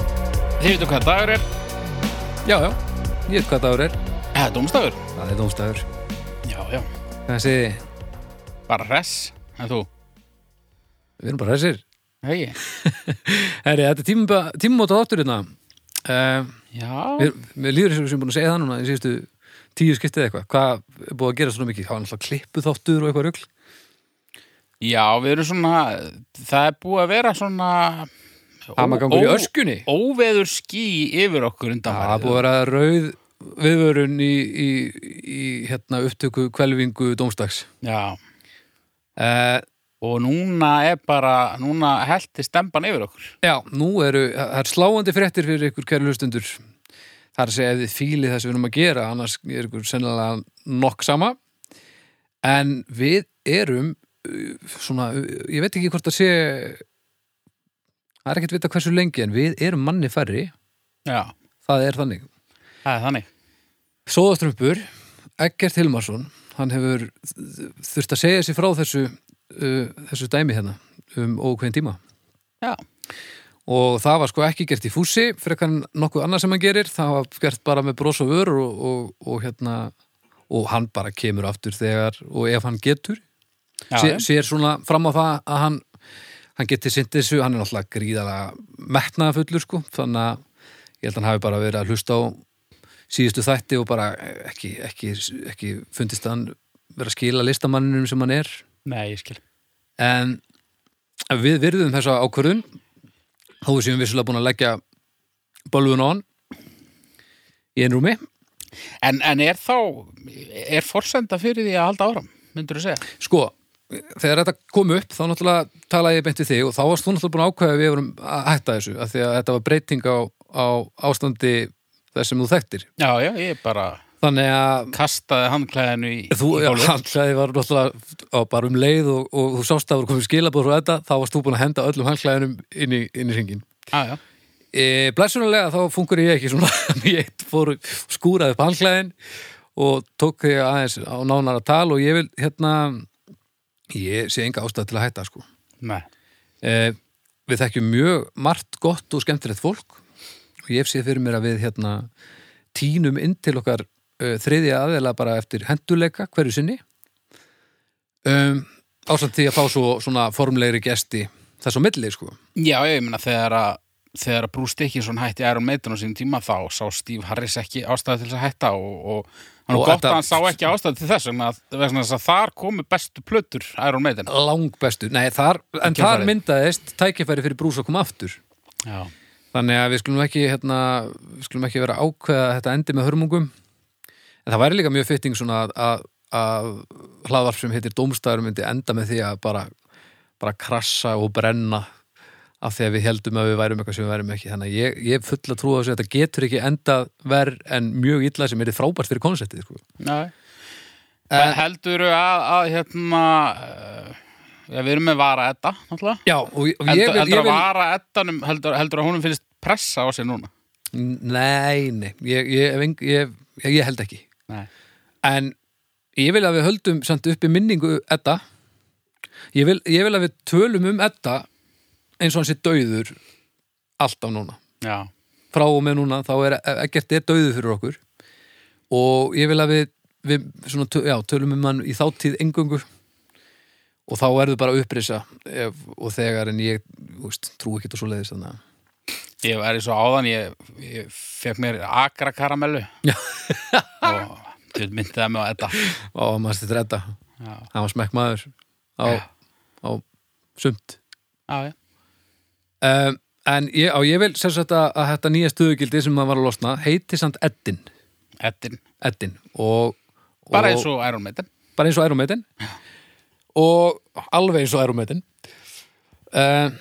Þið veitum hvað dagur er? Já, já, ég veit hvað dagur er. Það er dómstafur. Það er dómstæður. Já, já. Þessi, Bara hress. En þú? við erum bara þessir. Hegi. Herri, þetta er tíma, tímamóta þáttur hérna. Uh, Já. við, við líður þessu sem búin að segja það núna í síðustu tíu skiptið eða eitthvað. Hvað er búið að gera svona mikið? Það var náttúrulega klippu þáttur og eitthvað rugl. Já, við erum svona, það er búið að vera svona... Hamagangur í öskunni. Óveður ský yfir okkur undan Það er búið að vera rauð viðvörun í, í, í hérna, upptöku kvelvingu dómstags. Já. Uh, Og núna er bara, núna helti stemban yfir okkur. Já, nú eru, það er sláandi fréttir fyrir ykkur kæri hlustundur. Það er að segja ef þið fílið það sem við erum að gera, annars er ykkur sennilega nokk sama. En við erum uh, svona, uh, ég veit ekki hvort það sé, það er ekkert vita hversu lengi, en við erum manni færri, Já. það er þannig. Það er þannig. Sóðastrumpur, Eggert Hilmarsson, hann hefur þurft að segja sér frá þessu, uh, þessu dæmi hérna um ókveðin tíma. Já. og það var sko ekki gert í fúsi frekar en nokkuð annað sem hann gerir það var gert bara með bros og vör og, og, og hérna og hann bara kemur aftur þegar og ef hann getur Já, sér, sér svona fram á það að hann hann geti sint þessu, hann er náttúrulega gríðalega metnaðafullur sko þannig að ég held að hann hafi bara verið að hlusta á síðustu þætti og bara ekki, ekki, ekki fundist að hann vera að skila listamanninum sem hann er Nei, ég skil. en við virðum þessa ákvörðun þó við séum vissulega búin að leggja bölvun á hann í einrúmi En, en er þá, er forsenda fyrir því að halda áram, myndur þú segja? sko, þegar þetta kom upp þá náttúrulega talaði ég beint við þig og þá varst þú náttúrulega búin að ákveða að við vorum að hætta þessu af því að þetta var breyting á, á ástandi þess sem þú þekktir Já, já, ég bara þannig að kastaði handklæðinu í, þú, í já, gólfið. handklæði var náttúrulega á bara um leið og, og þú sást að voru komið skilabóð frá þetta, þá varst þú búin að henda öllum handklæðinum inn í, inn í hringin Já, Ah, já. E, Blæsunulega þá fungur ég ekki svona ég fór skúraði upp handklæðin og tók því aðeins á nánara tal og ég vil hérna ég sé enga ástæð til að hætta sko Nei. e, Við þekkjum mjög margt gott og skemmtilegt fólk og ég sé fyrir mér að við hérna tínum inn til okkar uh, þriðja aðeila bara eftir henduleika hverju sinni um, ásamt því að fá svo svona formlegri gesti þess á milli sko Já, ég meina þegar að þegar að Bruce Dickinson hætti Iron Maiden á sínum tíma þá sá Steve Harris ekki ástæði til þess að hætta og, og hann og Og gott þetta- að hann sá ekki ástæði til þess vegna, að- vegna þess að þar komu bestu plötur Iron Maiden langbestu, nei þar en Kjölfarið. þar myndaðist tækifæri fyrir brús að koma aftur Já, þannig að við skulum ekki hérna, við skulum ekki vera að ákveða að þetta endi með hörmungum en það væri líka mjög fitting svona að, að, að hlaðvarp sem heitir Dómstæður myndi enda með því að bara, bara krassa og brenna af því að við heldum að við værum eitthvað sem við værum ekki þannig að ég, ég er full að trúa þessu að þetta getur ekki enda verð en mjög illa sem er frábært fyrir konceptið sko. nei Eh. Heldur að, að hérna uh, já, við erum með vara edda náttúrulega Já, og ég, og ég Heldur, vil, heldur ég að vil vara eddanum heldur, heldur að honum finnst pressa á sig núna Nei, nei, ég, ég, hef eng- ég, ég, ég held ekki Nei, En ég vil að við höldum samt uppi minningu Edda ég vil, ég vil að við tölum um Edda eins og hans er döður alltaf núna já, frá og með núna þá er ekkert er döður fyrir okkur og ég vil að við, við svona, tö- já, tölum um hann í þáttíð engungu og þá er þau bara að upprisa ef, og þegar en ég þú veist, trú ekki þetta svo leiðis þannig að ég er svo áðan ég, ég fekk mér agra karamellu Já. og ég myndi það með á edda Ó, maður stið redda, Já, hann var smekk maður á, Já. á sumt já, já um, En ég, á, ég vil sem sagt að, að þetta nýja stöðugildi sem maður var að losna heiti samt Eddin, Eddin, Eddin og, og bara eins og Iron Maiden bara eins og Iron Maiden og alveg eins og Iron Maiden um,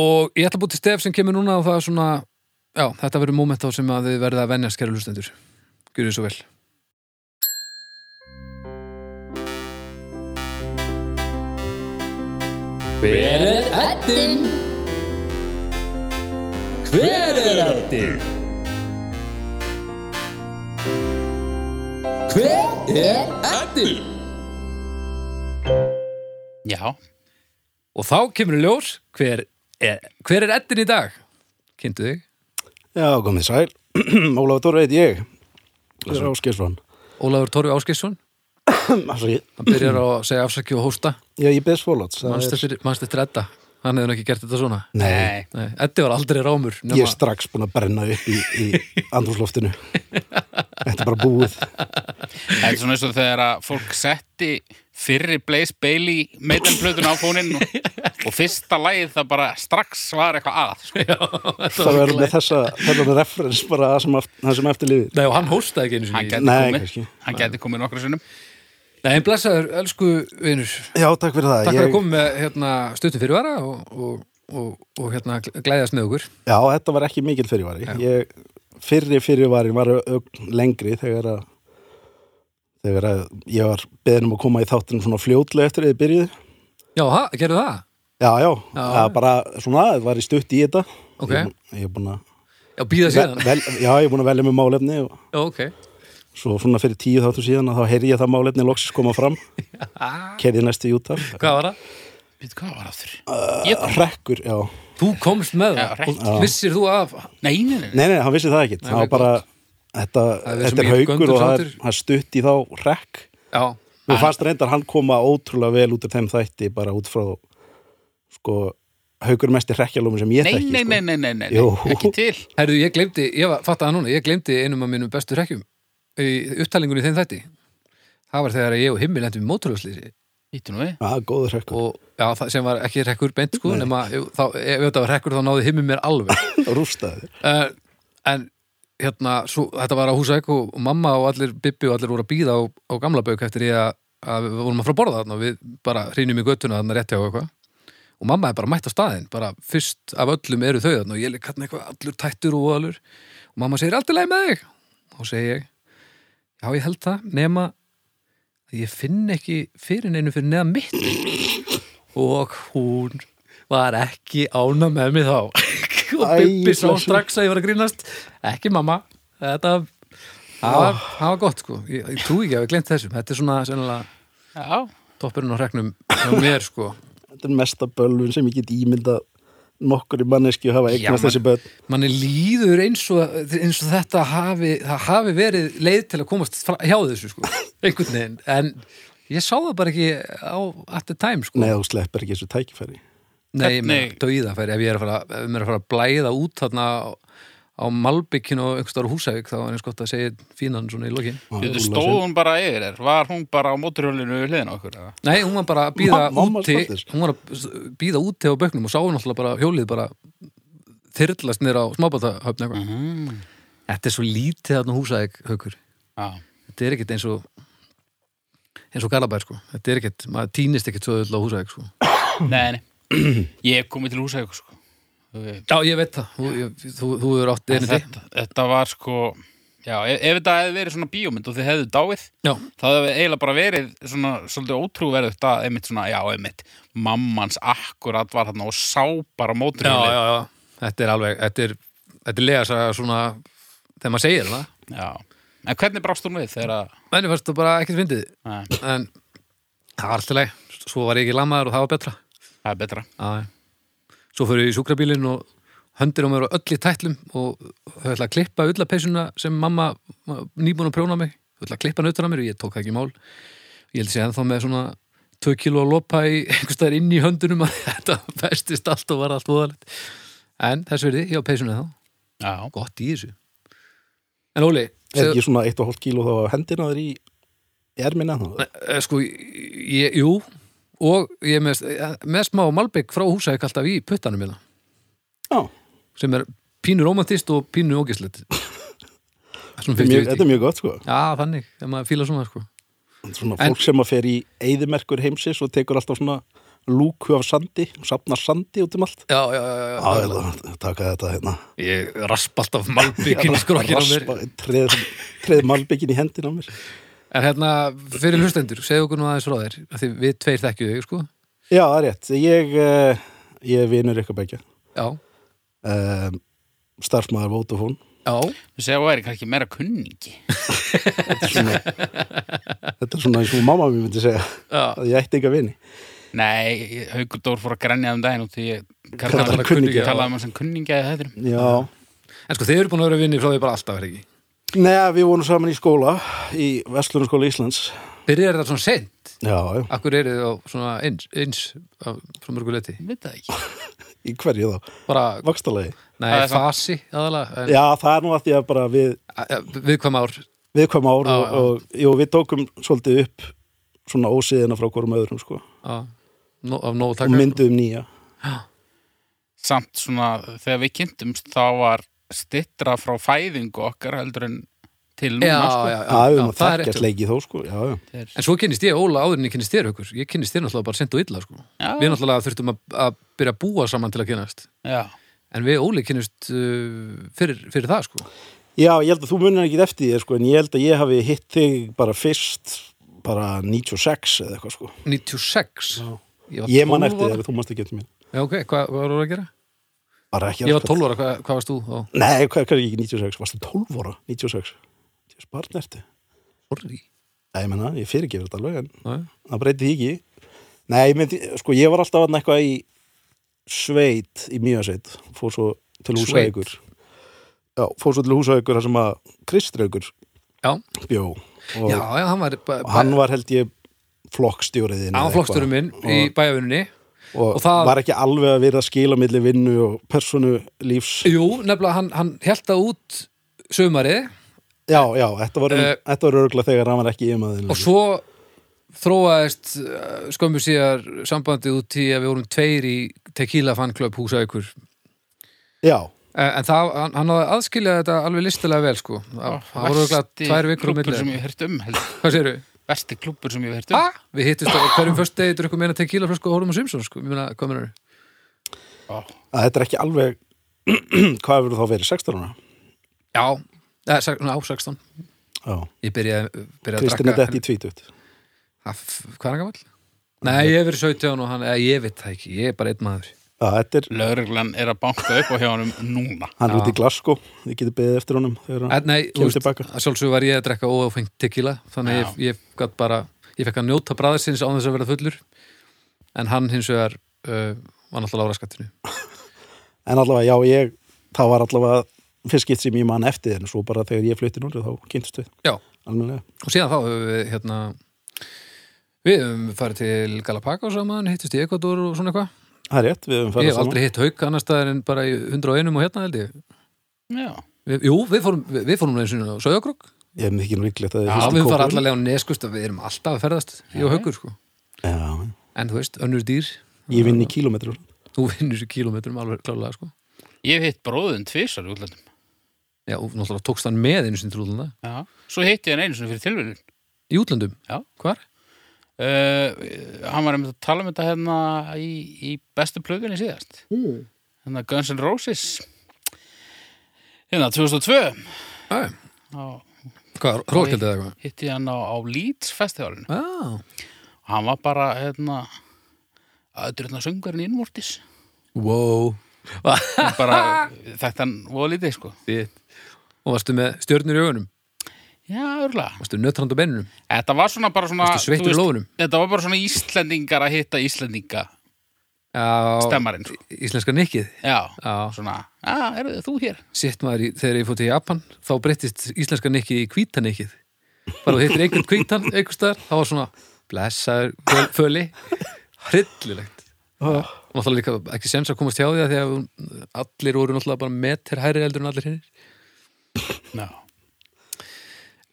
og ég ætla að búið til stef sem kemur núna og það er svona já, þetta verður moment þá sem að þið verða að venjast kæra hlustendur, gjörðu svo vel Hver er eddin? Hver er eddin? Hver er eddin? Já, e, og þá kemur í ljós hver er, hver er Eddin í dag kynntu þig Já, komið sæl. Ólafur Dóra heit ég. Ég er Áskeiðsson. Ólafur Torfi Áskeiðsson, Afsakið. hann byrjar á að segja afsaki og hósta Já, ég beðs fólóts. mannst eftir, mannst eftir Edda, hann hefði nú ekki gert þetta svona Nei, Nei, Eddi var aldrei rámur ég nema, er strax búin að brenna upp í, í andrúsloftinu. Þetta er bara búið. Þetta er svona eins og þegar að fólk setti fyrri Blaze Bailey meitanplötun á fóninn og, og fyrsta lagið það bara strax var eitthvað að sko. Það verður með þessa, þetta er referens bara það sem, aft, það sem eftir lifir. Nei, og hann hóstaði ekki einu hann sinni í- gæti Nei, komið, kannski. hann gæti komið nokkru sinnum Nei, en blessaður, elsku vinur Já, takk fyrir það. Takk fyrir Ég- að koma með hérna, stuttum fyrirvara og, og, og, og hérna glæðast með okkur Já, þetta var ekki mikil fyrirvari. Ég, fyrri fyrirvarin var ögn lengri þegar að þegar að ég var beðin um að koma í þáttinu svona fljótlega eftir að þið byrjuði. Já, ha, gerðu það? Já, já, það er bara svona, það var í stutt í þetta. Ok. Ég, ég er búin að Já, býða vel, síðan vel, já, ég er búin að velja með málefni og Já, ok svo svona fyrir tíu þáttu síðan að þá heyri ég það málefni loksins koma fram keiri næstu í útaf Hvað var það? Býtu, hvað var aftur? Ég kom Rekkur, já Þú komst með Já, það rétt. og vissir þú af Nei, nei, nei, nei. Nei, nei, hann vissi það ekkit það nei, var bara, þetta, Það er svo þetta er mikill haukur og það er, göndulsáttur. það er stutt í þá rekk Já, Mér fannst reyndar hann koma ótrúlega vel út af þeim þætti bara út frá sko, haukur mest í rekkjalómi sem ég Nei, þekki nei, nei, sko. nei, nei, nei, nei. Jú. ekki til herðu, ég glemdi ég var, fattaði það núna, ég glemdi einum af mínum bestu hrekkjum í upptalingunni í þeim þætti Það var þegar ég og Himmi lentum í mótrúðslýsi Býtu nú við Já, góður hrekkur og já, það sem var ekki hrekkur beint sko, nema, ef- þá, ef þetta var hrekkur þá náði Himmi mér alveg Rústaði uh, en hérna, svo, þetta var á Húsæk og og mamma og allir Bibbi og allir voru að býða á, á gamla bauk eftir ég að, að við vorum að fara að borða þarna og við bara hrýnum í göttuna þarna rétt hjá og eitthvað og mamma er bara mætt á staðinn, bara fyrst af öllum eru þau þarna og ég leik hérna eitthvað allur tættur og alur og mamma segir alltaf leið með þig og segi ég já ég held það, nema að ég finn ekki fyrir neinu fyrir neða mitt og hún var ekki ána með mig þá og Æ, Bibbi sá blessuð. strax að ég var að grínast ekki mamma, þetta það var, það var gott sko ég, ég trúi ekki að við glemt þessum, þetta er svona sennilega Já, toppurinn á hreknum hjá mér sko Þetta er mesta bölvun sem ég get ímyndað nokkur í manneski hafa eignast mann. þessi börn manni líður eins og, eins og þetta hafi, það hafi verið leið til að komast fra- hjá þessu sko einhvern veginn, en ég sá það bara ekki á at the time sko Nei, þú sleppir ekki þessu tækifæri Nei, ég meina Hvernig- dauðafæri ef ég er að fara, ef mér er að fara að blæða út þarna á, á Malbyggjun og einhvers stóru Húsavík þá er eins gott að segja fínan svona í lokin Býtu, stóð hún bara yfir þér Var hún bara á móturhjólinu við hliðin á okkur eða? Nei, hún var bara að býða Ma- mamma úti Staldis. hún var að býða úti á bögnum og sá hún alltaf bara hjólið bara þyrlast niður á smábátahöfn eitthvað Mm. Þetta er svo lítið þarna Húsavík haukur Já, Þetta er ekkert eins og eins og Galabær sko Þetta er ekkert, maður týnist ekkert svo öll á Húsavík sko nei, nei Ég er komið til húsa ykkur sko Þú- Já, ég veit það, þú, ég, þú, þú, þú er átt erindi þetta, þetta var sko Já, e- ef, ef þetta hefði verið svona bíómynd og þið hefðu dáið Já, það hefði eiginlega bara verið svona svolítið ótrúverðugt að einmitt svona, já, einmitt mammans akkurat var þarna og sá bara já, móturhjólið já, já. Þetta er alveg, þetta er, þetta er lega svona, þegar maður segir það. Já, en hvernig brást hún við þegar að Menni fannst það bara ekkert fyndið, Nei, en það var alltaf leið. Svo var ég ekki lamaður og það var betra. það er betra Aðeim. Svo fyrir ég í sjúkrabílinn og höndir á mér og öll í tætlum og þau ætla að klippa ullapeysuna sem mamma nýbúin að prjóna mig. Þau ætla að klippa hann utan á mér og ég tók það ekki í mál. Ég held sér ennþá með svona tvö kíló að lopa í einhvers staðar inn í höndunum að þetta festist allt og var allt voðalegt. En þess verði, ég á peysuna þá. Já, gott í þessu en Óli Er segðu- ekki svona 1,5 kíló þá á hendina þér í ermina þá? eh, sko, ég, jú og ég er með, eh, með smá malbygg frá húsæk alltaf í puttanum hérna. minna Já, sem er pínu romantist og pínu ógislegt þetta er mjög- þetta er mjög gott sko Já, þannig, ef maður fíla svona sko. Svona En- fólk sem að fer í eyðimerkur heimsins og tekur alltaf svona lúku af sandi, safnar sandi út um allt Já, já, já, já, Já, já. ég ætla að taka þetta hérna Ég raspa alltaf malbyggin sko, skrokkinn á mér Raspa, treð, treð malbyggin í hendina á mér En hérna, fyrir hlustendur, segðu okkur nú aðeins frá þér af Því við tveir þekkjum þig, sko Já, það er rétt, ég, eh, ég er vinur ykkur bækja Já, um, starfsmaður Vótafón já, þú segja að það væri kannski meira kunningi Þetta er svona eins og mamma mér myndi segja já. að ég ætti enga vini Nei, Haukur Dór fór að grænja um daginn út því ég um Kallar hann kunningja. talaði maður sem kunningi eða þetta Já, En sko, þið eru búin að vera vinni frá því bara alltaf, er ekki? Nei, við vorum saman í skóla, í Vestlunarskóla Íslands. Byrjar þetta svona sent? Já, já. Akkur eru þið á svona eins, eins á, frá mörgu leti? Veit það ekki. í hverju þá? Bara, Vakstalegi? nei, það er svona- fasi aðalega, en, Já, það er nú að því að bara við ja. viðkvæm ár viðkvæm ár Já, og, já. og jú, við tókum svolítið upp svona ósiðina frá hverjum öðrum sko, á, nó, af nóg og taka. mynduðum nýja Samt svona, þegar við kynntumst, þá var stittra frá fæðingu okkar heldur en til núna, Já, sko. já, já, það já, hefum að það er þakka rétt. sleikið þó sko já, já. En svo kynnist ég Óla áður en ég kynnist þér ykkur. Ég kynnist þér náttúrulega bara sent og illa, sko. Já. Við náttúrulega þurftum að, að byrja að búa saman til að kynnast. Já. En við Óli kynnist uh, fyrir, fyrir það, sko. já, ég held að þú munir ekki eftir því sko, en ég held að ég hafi hitt þig bara fyrst bara 96 eða eitthvað sko 96. Já. ég man eftir þér, þú manst ekki eftir mér Já, ok, hvað hva var það að gera? bara ekki Ég var akkurat. 12 ára, hvað, hvað varst þú? Ó, nei, hvað er ekki 96, varstu 12 ára 96, ég spart nerti sorry. Nei, ég menna, ég fyrirgefur þetta alveg en Já, já. það breyti því ekki Nei, ég myndi, sko, ég var alltaf þarna eitthvað í sveit, í mjögasveit fór svo til Sveit? húsaukur Já, fór svo til húsaukur þar sem að Kristraukur Já, bjó og já, já, hann var... ba- og hann var held ég flokkstjóriðin Hann var flokksturum minn í bæjavinnunni og, og það- var ekki alveg að vera að skila milli vinnu og personu lífs Jú, nefnilega hann, hann held það út sömarið Já, já, þetta var, Eh, þetta var örgla þegar hann var ekki ymaðin og svo þróaðist uh, skömmu síðar sambandið út í að við vorum tveir í Tequila Fan Club húsaukur Já, Eh, En það, hann, hann hafði aðskiljað þetta alveg listilega vel sko Það það voru örugglega tvær vikur á klúppur sem milli ég hef heyrt um, heldur. Hvað sérðu? Vesti klúppur sem ég hef heyrt Ha? um. Við hittist á hverjum först degi drukum eina tequila flösku og horfum á Simpsons sko Ég meina, hvað mennur? að þetta er ekki alveg hvað hefur þá verið, 16 ára? Já, eða, sex- svona á 16 Já, Ég byrjaði, byrjaði að Kristinn er drakka þetta í tvítut Ha, f- Hvað er hann gamall? Nei, ég hef verið 17 og hann, eða, ég veit það ekki, ég er bara einn maður Já, þetta er Lögreglan er að banka upp á hjá honum núna. Hann er út í Glasgow, þið getið beðið eftir honum þegar hann En nei, þú kemur veist, tilbaka. að sjálfsög var ég að drekka óáfengt tequila Þannig að ég, ég gat bara, ég fekk að njóta bræðarsins án þess að vera fullur En hann hins vegar uh, var náttúrulega á raskattinu En allavega, já, ég, það var allavega fyrst skipt sem ég man eftir en svo bara þegar ég flutti núna þá kynntist við Já, og almennilega. síðan þá höfum við hérna Við höfum farið til Galapagos saman, hittust í Ecuador og svona eitthvað Það er rétt, við höfum Ég ferðast hef aldrei hitt hauk annar staðar en bara í 101 og hérna held ég Já. við, Jú, við fórum, við, við fórum eins og sögjökrok Ég hef mikið nú líklegt að Já, fyrsti við fara kókurinn. allavega á neskust við erum alltaf að ferðast, ég og haukur sko Já, En þú veist, önnur dýr, ég vinn í kílómetru. þú vinnur í kílómetrum alveg klálega sko Ég hef hitt bróðin tvisar í útlandum. Já, og náttúrulega tókst hann með einu sinni til útlanda Já. Svo hitti ég hann einu sinni fyrir tilvíðin. Í útlandum? Já. Hvar? Uh, hann var einmitt að tala um þetta hérna í, í bestu plöðunni síðast mm. Hmm. hérna Guns N' Roses hérna 2002 Já, já. Á- Hvað, Róðkjaldið eða eitthvað? hitti ég hann á, á Leeds festivalinu Já og hann var bara hérna öðru hérna söngarinn innvortis Wow Hann bara þetta hann voða lítið sko Sitt Og varstu með stjörnur í augunum? já, örgulega Varstu nötrand á bennunum? þetta var svona bara svona Varstu sveittur þú í veist, lófunum? þetta var bara svona Íslendingar að hitta Íslendinga Já stemmarinn sko. Íslenska nikkið já, Já. svona, já, eru þú hér Sitt maður í, þegar ég fótt í Japan þá breyttist íslenska nikkið í hvíta nikkið Bara þú hittir einhvern hvítan einhvers staðar, þá var svona blessaður föl- föli Hryllilegt Ah. Náttúrulega líka ekki sens að komast hjá því að því að hún- allir voru náttúrulega bara metir hærri eldur en allir hinnir já,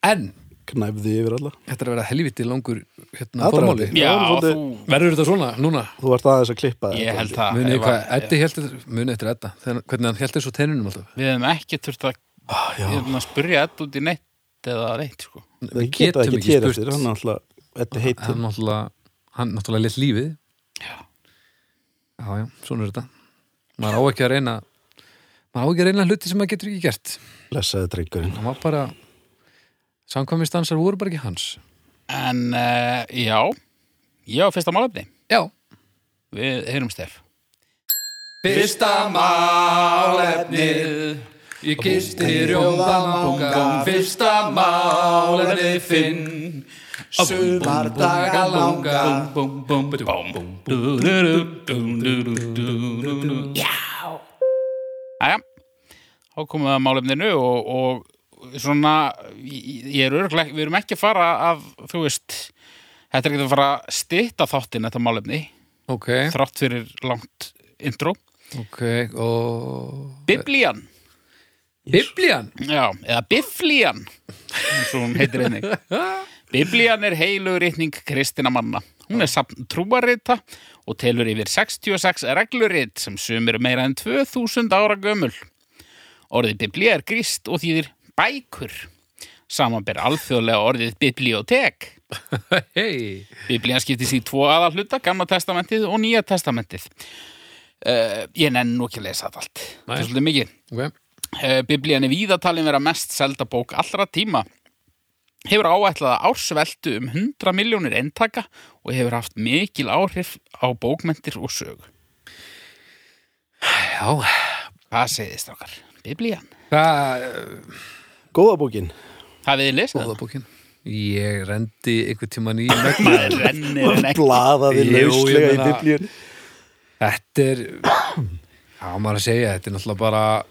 En Knæfðu yfir alla. Þetta er að vera helviti langur hérna, Aðdragandi. formáli. Já, já svolítið- þú Verður þetta svona núna? Þú vart aðeins að klippa. þetta, Ég held held það Munið ef hvað, að- Eddi held þetta, munið eftir Edda, þegar- hvernig hann held þessu tennunum alltaf. Við hefum ekki þurft að Ah, já, hérna, spyrja þetta út í neitt eða neitt sko. það geta getum ekki ekki spurt. Ah, tér eftir, hann er alltaf, þetta heitir. Hann náttúrulega, hann náttúrulega létt lífið. Já. Já, já, svona er þetta. Maður á ekki að reyna, maður á ekki að reyna hluti sem maður getur ekki gert. Blessaði drengurinn. Hann var bara, samkvæmistansar voru bara ekki hans. En uh, já, ég á fyrsta málefni. Já. Við heyrum stef. Fyrsta málefnið, ég gisti rjóðamangan, fyrsta málefnið finn, sumar daga langan. Bum, bum, bum, bum, bum, du, du, du, du, du, du, du, du, du. Já! Æja, þá komum við að málefninu og, og svona ég ég er örglega, við erum ekki að fara að þú veist, þetta er ekki að fara að stytta þáttinn þetta málefni Ok, þrátt fyrir langt intro ok, og... Biblían, Biblían? já, eða Biflían eins og hún heitir einnig Biblían er heilug rítning kristina manna. Hún er sapn trúarita og telur yfir 66 reglurit sem sumir meira en 2000 ára gömul. Orðið biblía er gríst og þýðir bækur. Samanber alþjóðlega orðið bibliotek. Hei, Biblían skiptist í tvo aðal hluta, Gamla testamentið og Nýja testamentið. Uh, ég nenn nú ekki að lesa þetta allt. Það Nei. er svolítið mikið. ok, Eh, Biblían er víðatalin vera mest selda bók allra tíma. Hefur áætlaða ársveldu um 100 miljónir eintaka og hefur haft mikil áhrif á bókmentir og sög. já, Hvað segðist okkar? Biblían. það, Góða bókin. Hafið þið lesað? góða bókin. eh, Ég rendi einhvern tíman í það? Maður rennir en ekki. Blaðaði Jú, ég lauslega í meina- biblíun. Þetta er, já maður að segja, þetta er náttúrulega bara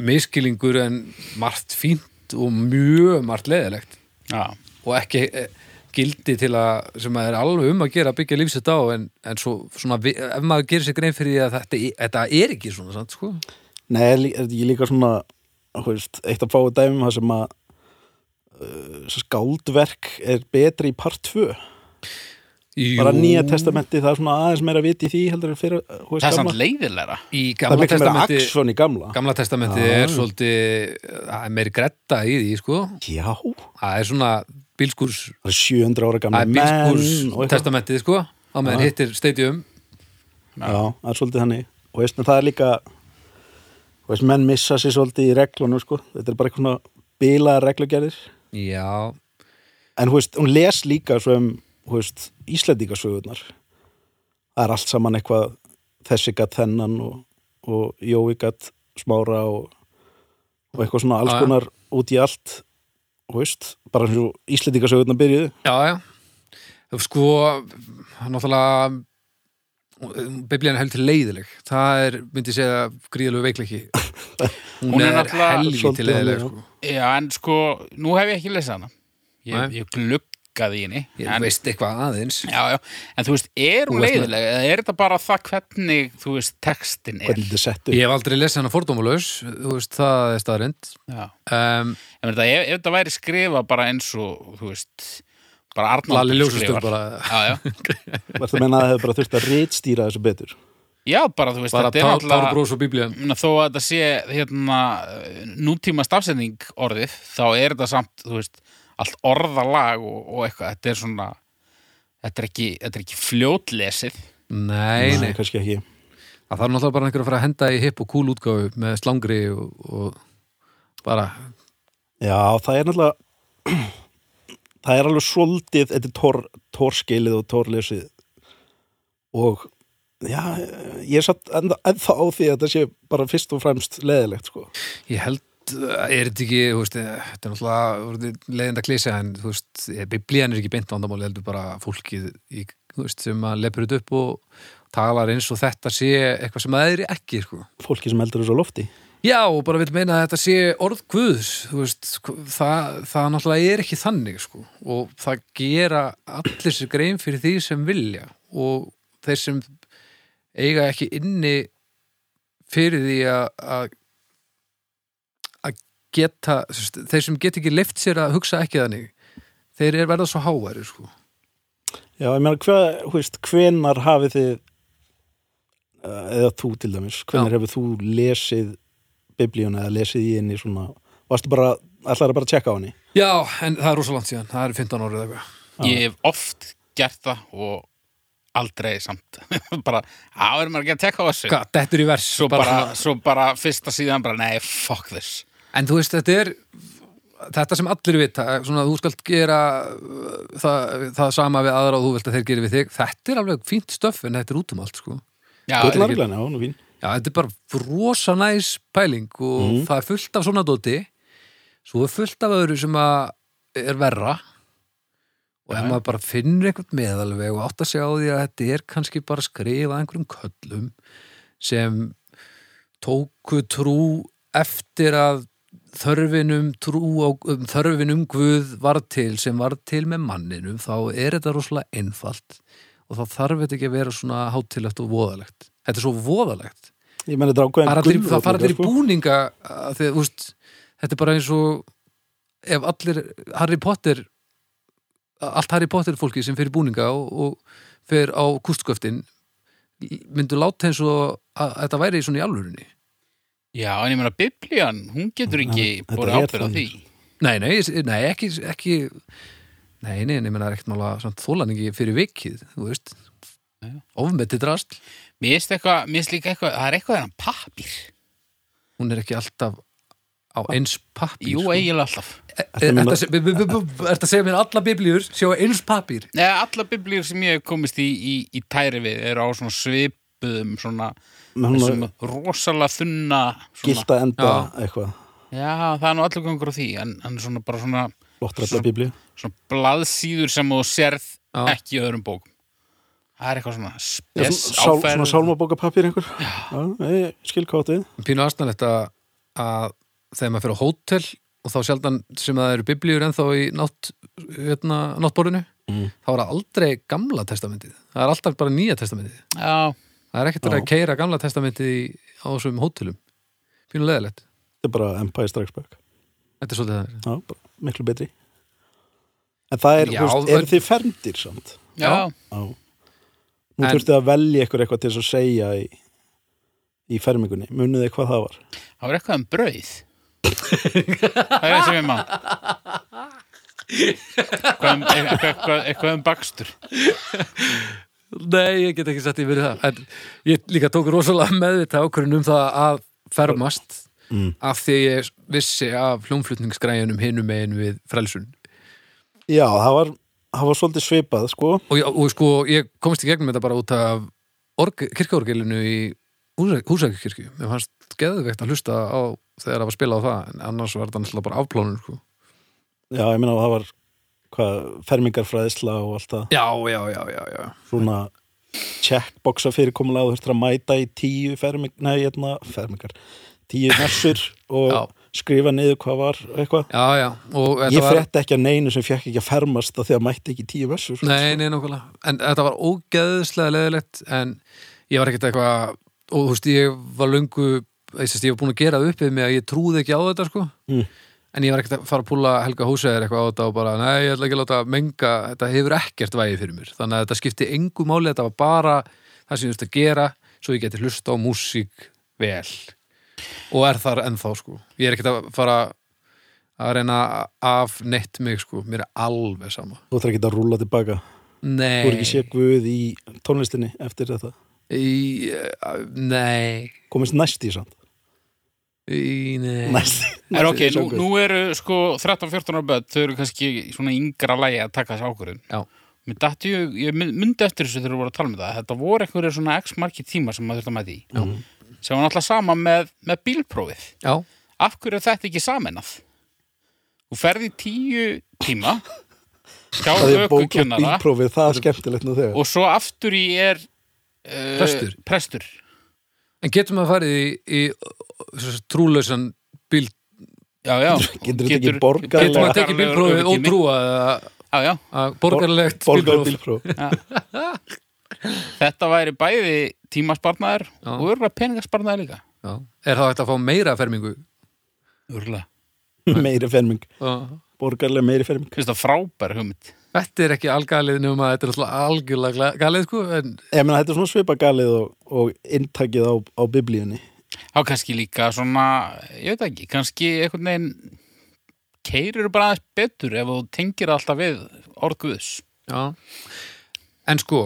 miskilingur en margt fínt og mjög margt leðilegt Já, og ekki eh, gildi til að, sem maður er alveg um að gera, byggja lífsitt á en, en svo, svona, vi- ef maður gerir sér grein fyrir því að þetta, þetta er ekki svona, sant, sko? Nei, er lí- er þetta ekki líka svona, þú veist, eitt af fáu dæmum það sem að uh, skáldverk er betri í part 2 Jú, bara nýja testamenti, það er svona aðeins meira viti í því heldur en fyrir, þú það veist, er gamla samt leiðilega. í það er gamla miklu meira testamenti, aksjón í gamla gamla testamenti er svolítið, það er meiri gretta í því, sko? já, það Það er svona bílskurs, er 700 ára það gamla er menn og bílskurs eitthvað. testamentið, sko? Á meðan hittir stadium já, það er svolítið þannig og veist, en það er líka þú veist, menn missa sér svolítið í reglunum sko. þetta er bara eitthvað svona bilaða reglugerðir Já, en þú veist, hún les líka svo um þú veist, Íslandíkasögurnar það er allt saman eitthvað þessi gatt þennan og, og Jói gatt smára og, og eitthvað svona alls Já, já. konar út í allt þú veist, bara eins og Íslandíkasögurnar byrjuðu já, já. Sko, náttúrulega, biblían er heldur leiðileg. Það er, myndi ég segja, gríðalegu veikleiki. Hún, Hún er er, náttúrulega helviti svolítið leiðileg, þannig, sko. Já, en sko, nú hef ég ekki lesað hana. Ég, Nei. ég gluggaði í henni. Ég en, veist eitthvað aðeins. Já, já, en þú veist, er hún Þú veist með- leiðilega? Eða er þetta bara það hvernig, þú veist, textin er? hvernig þetta settu Ég hef aldrei lesið hana fordómulaus, þú veist, það er staðrind. Já. Um, Ég meina, þetta- Ef, ef þetta væri skrifa bara eins og, þú veist, bara Arnaldur Lalli ljósastur skrifar. bara, Já, já. Varst að meina að það hefur bara þurft að rítstýra þessu betur já, bara, þú veist, bara þetta er náttúrulega, tárbros og biblían. ég meina, þó að þetta sé, hérna, nútíma stafsending orðið, þá er þetta samt, þú veist, allt orðalag og, og eitthvað, þetta er svona, þetta er ekki, þetta er ekki fljótlesið. Nei, nei. kannski ekki Það þarf náttúrulega bara einhver að fara að henda í hipp og kúl útgáfu með slangri og, og bara, Já, það er náttúrulega það er alveg svolítið þetta er tor, torskilið og torlesið og já, ég er satt ennþá ennþá á því að þetta sé bara fyrst og fremst leðilegt sko. Ég held, uh, er þetta ekki, þú veist, eh, þetta er náttúrulega orðið leiðind að klísa, en þú veist, eh, biblían er ekki beint vandamáli, heldur bara fólkið í, þú veist, sem að lepur þetta upp og talar eins og þetta sé eitthvað sem það er ekki, sko. fólki sem heldur þessu á lofti Já, og bara vil meina að þetta sé orð guðs, þú veist, hv- það, það náttúrulega er ekki þannig, sko, og það gera allir sér grein fyrir því sem vilja og þeir sem eiga ekki inni fyrir því að- að að geta, þú veist, þeir sem get ekki leift sér að hugsa ekki þannig, þeir er verða svo háværi, sko. Já, ég meina, hvað, hú veist, hvenar hafið þið eh, eða þú til dæmis, hvenar Já. hefur þú lesið biblíuna eða lesið í henni svona, varstu bara ætlaði bara að tjekka á henni Já, en það er rosa langt síðan, það er 15 árið eitthvað. Ég hef oft gert það og aldrei samt. bara, á, erum maður ekki að tekka á þessu? Hvað, dettur í vers? Svo bara, svona- svo bara fyrsta síðan bara, nei, fuck this. En þú veist, þetta er þetta sem allir vita, svona þú skalt gera uh, það, það sama við aðra og þú vilt að þeir gera við þig þetta er alveg fínt stöff en þetta er út um allt sko. Já, Gullna reglan, já, nú fín já, þetta er bara rosa næs pæling og það er fullt af svona dóti svo er fullt af öðru sem að er verra og ef maður bara finnur einhvern meðalveg og átt að segja á því að þetta er kannski bara skrifað einhverjum köllum sem tóku trú eftir að þörfinum trú á, um þörfinum Guð var til sem var til með manninum þá er þetta rosalega einfalt og þá þarf þetta ekki að vera svona hátilegt og voðalegt. Þetta er svo voðalegt Ég meni þetta er ákveðin bara þeir, það gullrót fara líka, þeir í sko. búninga að þeir, úst, þetta er bara eins og ef allir Harry Potter allt Harry Potter fólki sem fer í búninga og, og fer á kústköftin myndu láta eins og að, að þetta væri svona í alvörunni Já, en ég meina biblían, hún getur ekki þetta búið er ábyrð á því. þannig. nei, nei, s- nei, ekki, ekki nei, nei, nei, menn það er ekkert mála samt þólan ekki fyrir vikið, þú veist ofmeti drast, Mér finnst eitthvað, mér finnst líka eitthvað, það er eitthvað þennan pappir. hún er ekki alltaf á eins pappír Jú, e- eiginlega alltaf. Er þetta að segja- bu- bu- bu- ertu að segja mér að allar biblíur sjá eins pappír? Nei, alla biblíur sem ég hef komist í, í, í tæri við eru á svona svipuðum, svona, Með hún þessum rosalega þunna, svona. gilda enda Já. eitthvað Já, það er nú allur gangur á því, en, en svona bara svona, Lottrella biblíu svona blaðsýður sem þú serð Já. ekki í öðrum bókum. Það er eitthvað svona Já, spes sál, áferð. Svona sálmabókapapír einhver Já, ég skil hvað átti við. Pínu aðstæðanlegt að, að þegar maður fyrir á hótel og þá sjaldan sem að það eru biblíur ennþá í nátt, hérna, náttborðinu þá er það aldrei gamla testamentið það er alltaf bara nýja testamentið Já, það er ekkert verið að keira gamla testamentið í, á þessum hótelum Pínu leðilegt, Þetta er bara Empire Strikes Back þetta er svolítið það er Já, bara miklu betri En það er, Já, þú veist, það- eru þið fermdir samt? já, Já. Já Nú En- þurftu að velja ykkur eitthvað til þess að segja í, í fermingunni Munið þið hvað það var? það var eitthvað um brauð. það er það sem ég má. Eitthvað um, eitthvað, eitthvað, eitthvað um bakstur. Nei, ég get ekki satt í verið það en ég líka tók rosalega meðvita ákvörðin um það að fermast Mm. af því að ég vissi af hljónflutningsgræjunum hinum megin við frelsun Já, það var, það var svolítið svipað, sko og, já, og sko, ég komst í gegnum þetta bara út af org, kirkjaorgelinu í húsækjukirkju mér fannst geðveikt að hlusta á þegar það var spilað á það, en annars var þetta náttúrulega bara afplánun sko. Já, ég meina það var hvað, fermingarfræðisla og allt það já, já, já, já, já svona checkboxa fyrirkomulega þú þurftur að mæta í tíu ferming, nei, hérna, fermingar tíu messur og Já. skrifa niður hvað var og eitthvað já, já, og þetta ég var frétti ekki að neinu sem fekk ekki að fermast af því að mætti ekki í tíu messur nei, nei, nákvæmlega, en þetta var ógeðslega leðilegt, en ég var ekkert eitthvað, og þú veist, ég var löngu, ég sést, ég var búin að gera það upp við mig að ég trúði ekki á þetta, sko Mm. en ég var ekkert að fara að púla Helga Húsæðir eitthvað á þetta og bara, nei, ég ætla ekki að láta menga, þetta hefur ekkert vægi fyrir mér þannig að þetta skipti engu máli, þetta var bara það sem ég þurfti að gera, svo ég geti hlusta á músík vel og er þar ennþá, sko ég er ekkert að fara að reyna af neitt mig, sko mér er alveg sama þú þarf ekki að rúla tilbaka þú er Nei, ekki sé guð í tónlistinni eftir þetta í, uh, nei, komist næst í samt í, nei næst, Er ok, í nú, sá guð. nú eru sko 13-14 ára börn, þau eru kannski í svona yngra lægi að taka þessi ákvörðun. Já. Mér datti, ég, ég mun- mundi eftir þessu þegar við vorum að tala um það, þetta voru einhverjir svona x marki tíma sem maður þurfti að mæta í. Já. Sem var náttúrulega sama með, með bílprófið. Já, Af hverju er þetta ekki samennað? Þú ferði tíu tíma, hjá það er bók og ökukennara bílprófið, það er skemmtilegt nú þegar og svo aftur í er uh, Prestur. prestur. en getum að farið í, í sem sagt, trúlausan bíl Já, já. Getur þetta ekki borgaralega- getum að Borgaralegur tekið bílprófið og trúa að, Já, já. að borgarlegt borgar bílpróf bílpróf Þetta væri bæði tímasparnaður Já. og örgulega peningasparnaður líka. Já. Er það hægt að fá meira fermingu? Örgulega. meiri ferming, borgarlega meiri ferming Finnst það frábær hugmynd. Þetta er ekki algalið nema að þetta er alltaf algjörlega gla- galið sko en ég meina þetta er svona svipagalið og, og inntakið á, á biblíunni Þá kannski líka svona, ég veit ekki, kannski einhvern veginn keirir bara aðeins betur ef þú tengir það alltaf við orð guðs. Já. En sko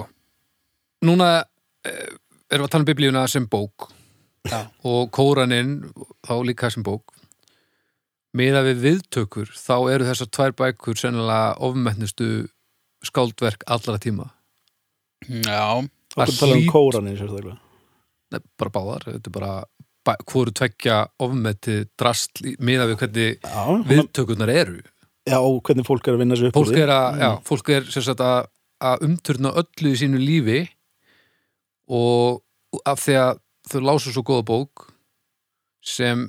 núna eh, erum við að tala um biblíuna sem bók Já. og kóraninn þá líka sem bók miða við viðtökur þá eru þessar tvær bækur sennilega ofmetnustu skáldverk allra tíma Já, Það Okkur tala um hlýtur- kóranin sérstaklega Nei, bara báðar, þetta er bara bæ, hvoru tveggja ofmetið drast miða við hvernig Já, við... viðtökurnar eru já, og hvernig fólk er að vinna sér upp úr fólk því. er að, já, fólk er sem sagt að, að umturna öllu í sínu lífi og af því að þau lásu svo góða bók sem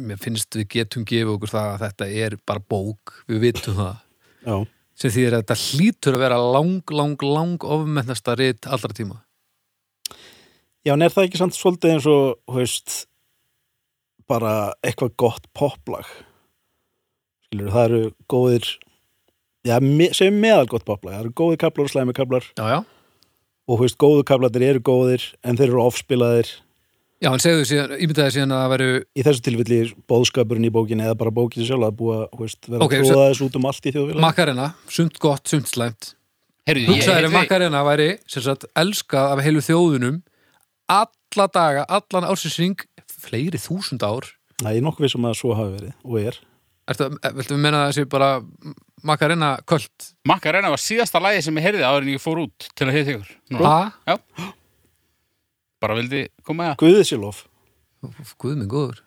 mér finnst við getum gefið okkur það að þetta er bara bók, við vitum það Mm. já, sem því að þetta hlýtur að vera lang, lang, lang ofmennasta rit allra tíma já, en er það ekki samt svolítið eins og, þú veist bara eitthvað gott poplag skilur, það eru góðir já, me, segjum meðal gott poplag það eru góðir kaplar og slæmi kaplar Já, já og, þú veist, góðu kaplarnir eru góðir en þeir eru ofspilaðir Já, en segðu síðan, ímyndaði síðan að það veru í þessu tilfelli er bóðskapurinn í bókinni eða bara bókinni sjálf að búa, þú veist, vera Ok, okay, svo- tróða þessu út um allt í þjóðfélag Makarena, sumt gott, sumt slæmt Heyrðu, ég Hugsaður heyrði- ef Makarena væri sem sagt elskað af heilu þjóðunum alla daga, allan ársinsring fleiri þúsund ár Nei, ég er nokkuð vissum að svo hafi verið og er Ertu, að- Viltu við menna þessi bara Makarena költ? Macarena var síðasta lagi sem ég heyrði áður en ég fór út til að heyrði ykkur Núna. Ha? Já. bara vildi koma með það Guðið sér lof Guð minn góður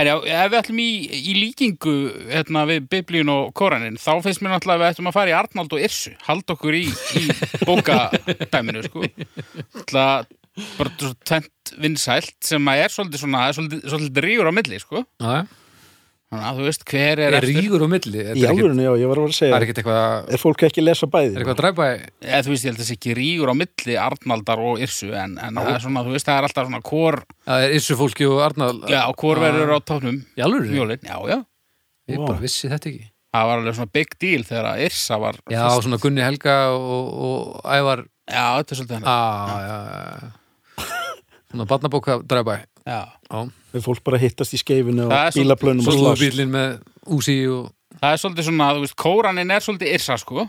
En já, ef við ætlum í, í líkingu hérna, við biblíun og koranin þá finnst mér náttúrulega að við ættum að fara í Arnald og Irsu halda okkur í, í bókadæminu sko Það bara svo tvennt vinsælt sem að er svolítið svona svolítið, svolítið rígur á milli sko Já, Þannig að þú veist hver er, er rígur á milli þetta Í er ekkit- alvörinu, já, ég var að vera að Það segja er ekkit eitthvað Er fólk ekki að lesa bæði? Er eitthvað að dræpa eða þú veist, ég held að þessi ekki rígur á milli Arnaldar og Irsu en, en það er svona, þú veist, það er alltaf svona hvor, Það er issu fólki og Arnald já, hvor verður á tóknum Í alvöru? mjólin, já, já Ég bara vissi þetta ekki það var alveg svona big deal þegar að Irsa var Já, fyrst. svona Gunni Helga og, og Ævar já þetta er svolítið hann ah, já, já, já. Svona barnabóka dræpa já. Já, Er fólk bara að hittast í skeifinu Það er og svolítið- bílaplönum og svo slags? bílinn með úsi og það er svolítið svona, þú veist, kóranin er svolítið Irsa sko,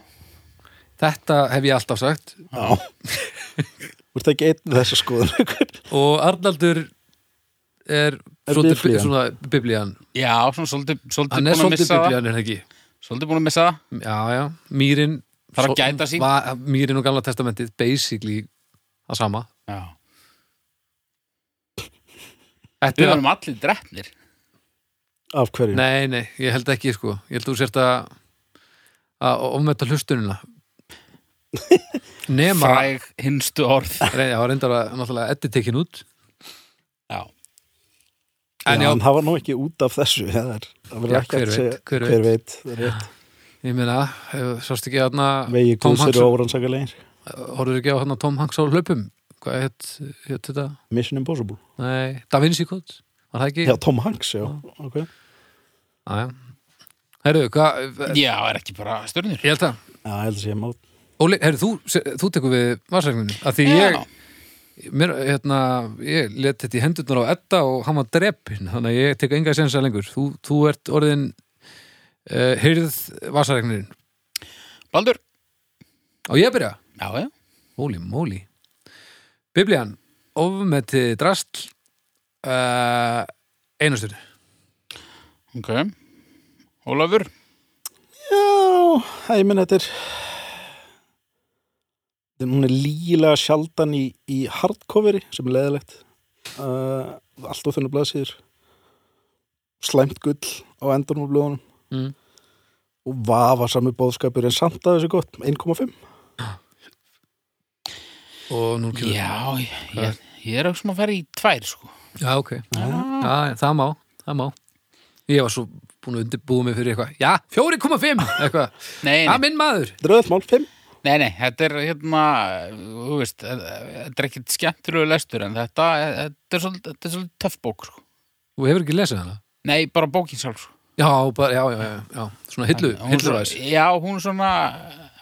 þetta hef ég alltaf sagt Já Þú ert ekki einn þessa skoðun ykkur og Arnaldur er, Er svolítið biblían. bi- svona biblían já, svona svolítið svolítið Hann búin er að svolítið missa það biblían er það ekki svolítið búin að missa það Já, já, mýrin Þarf að svo- gæta sín. va- Mýrin og gamla testamentið, basically það sama já. Þetta við er varum allir drefnir Af hverju? Nei, nei, ég held ekki sko Ég held þú sért að að ofmeta hlustunina Nema fræg hinstu orð reynd, Já, reyndar að náttúrulega eddi tekin út já, En já, já, en það var nú ekki út af þessu Það er, það verður Já, ekki hver að veit, segja hver Hver veit, það er rétt ég meina eh, Sást ekki aðna Vegi Tom Guðs Hanks eru órannsakarlegin Horfður ekki á hann Tom Hanks á hlaupum Hvað hétt hét þetta? Mission Impossible Nei, Da Vinci Code Var það ekki? Já, Tom Hanks, já Ok Já, já Herru, hvað eh, já, er ekki bara stjörnir Ég held það Já, ég held að segja mát Óli, herru, þú, se- þú tekur við varsækninu Að því ég já, Mér, hérna, ég let þetta í hendurnar á Edda og hann var drepin, þannig að ég tek enga sensa lengur. Þú, þú ert orðin uh, hyrð vasaregnirinn. Baldur Á ég að byrja? já, já, Móli, móli. Biblian, ofmetið drastl, uh, einastur. ok Ólafur, Já, það ég menn þetta er Þetta er- hún er líla sjaldan í, í hardcoveri sem er leðilegt uh, allt á þennu blaðsýður slæmt gull á endanum á blöðunum Mm. og vafa sami bóðskapur en samt að þessu gott 1,5 Og nú kemur. já, ég, ég, ég er auðvitað að fara í tvær sko Já, ok. Ah. Já, það má, það má. Ég var svo búin að undirbúa mig fyrir eitthvað. Já, 4,5 eitthvað. Nei, Það nei, er minn maður. dröðmál 5 nei, nei, þetta er hérna, þú veist, eh, þetta er ekkit skemmtilegu lestur en þetta, eh, þetta er svolítið, þetta er svolítið töff bók, sko. Þú hefur ekki lesið hana? Nei, bara bókin sjálf, sko. Já, bara, já, já, já, já. Svona hillu, Hún hillu svo- Já, hún er svona,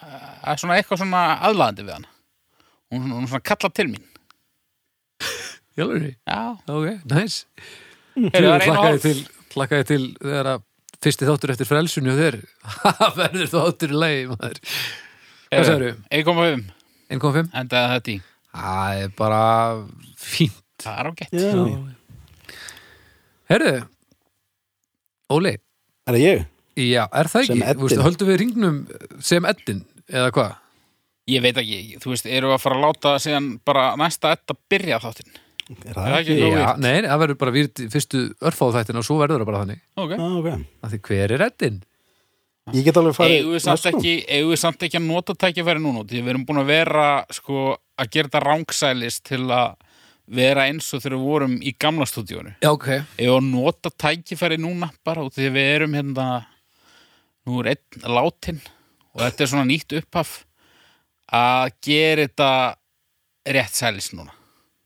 það er svona eitthvað svona aðlaðandi við hana. Hún, hún er svona kallað til mín. Jálfurri, Já, ok, næs Hm, Heyrðu, það er einu Plakkaði hálf. til, plakkaði til þegar að fyrsti þáttur eftir frelsunni og þér Það verður þáttur í lagi, maður Hvað sagðirðu? 1,5, 1.5? endaði þetta í. Það er bara fínt Það er á gett. yeah. Herðu, Óli, Er það ég? já, er það Sem ekki? eddin. Þú veist, höldum við ringnum sem eddin, eða hvað? Ég veit ekki, þú veist, eru að fara að láta síðan bara næsta þetta byrja þáttinn. Er Er það það? ekki nógu Já, vírt? nei, það verður bara výrt í fyrstu örfáð þættin og svo verður það bara þannig Ok. Ah, okay. að Því hver er eddin? Ég get alveg farið eigum við samt næstum. ekki eigum við samt ekki að nota tækifæri núna því við erum búin að vera sko að gera þetta rangsælist til að vera eins og þegar við vorum í gamla stúdíónu Já, ok. eða að nota tækifæri núna bara út af því að við erum hérna nú er einn látin og þetta er svona nýtt upphaf að gera þetta rétt sælis núna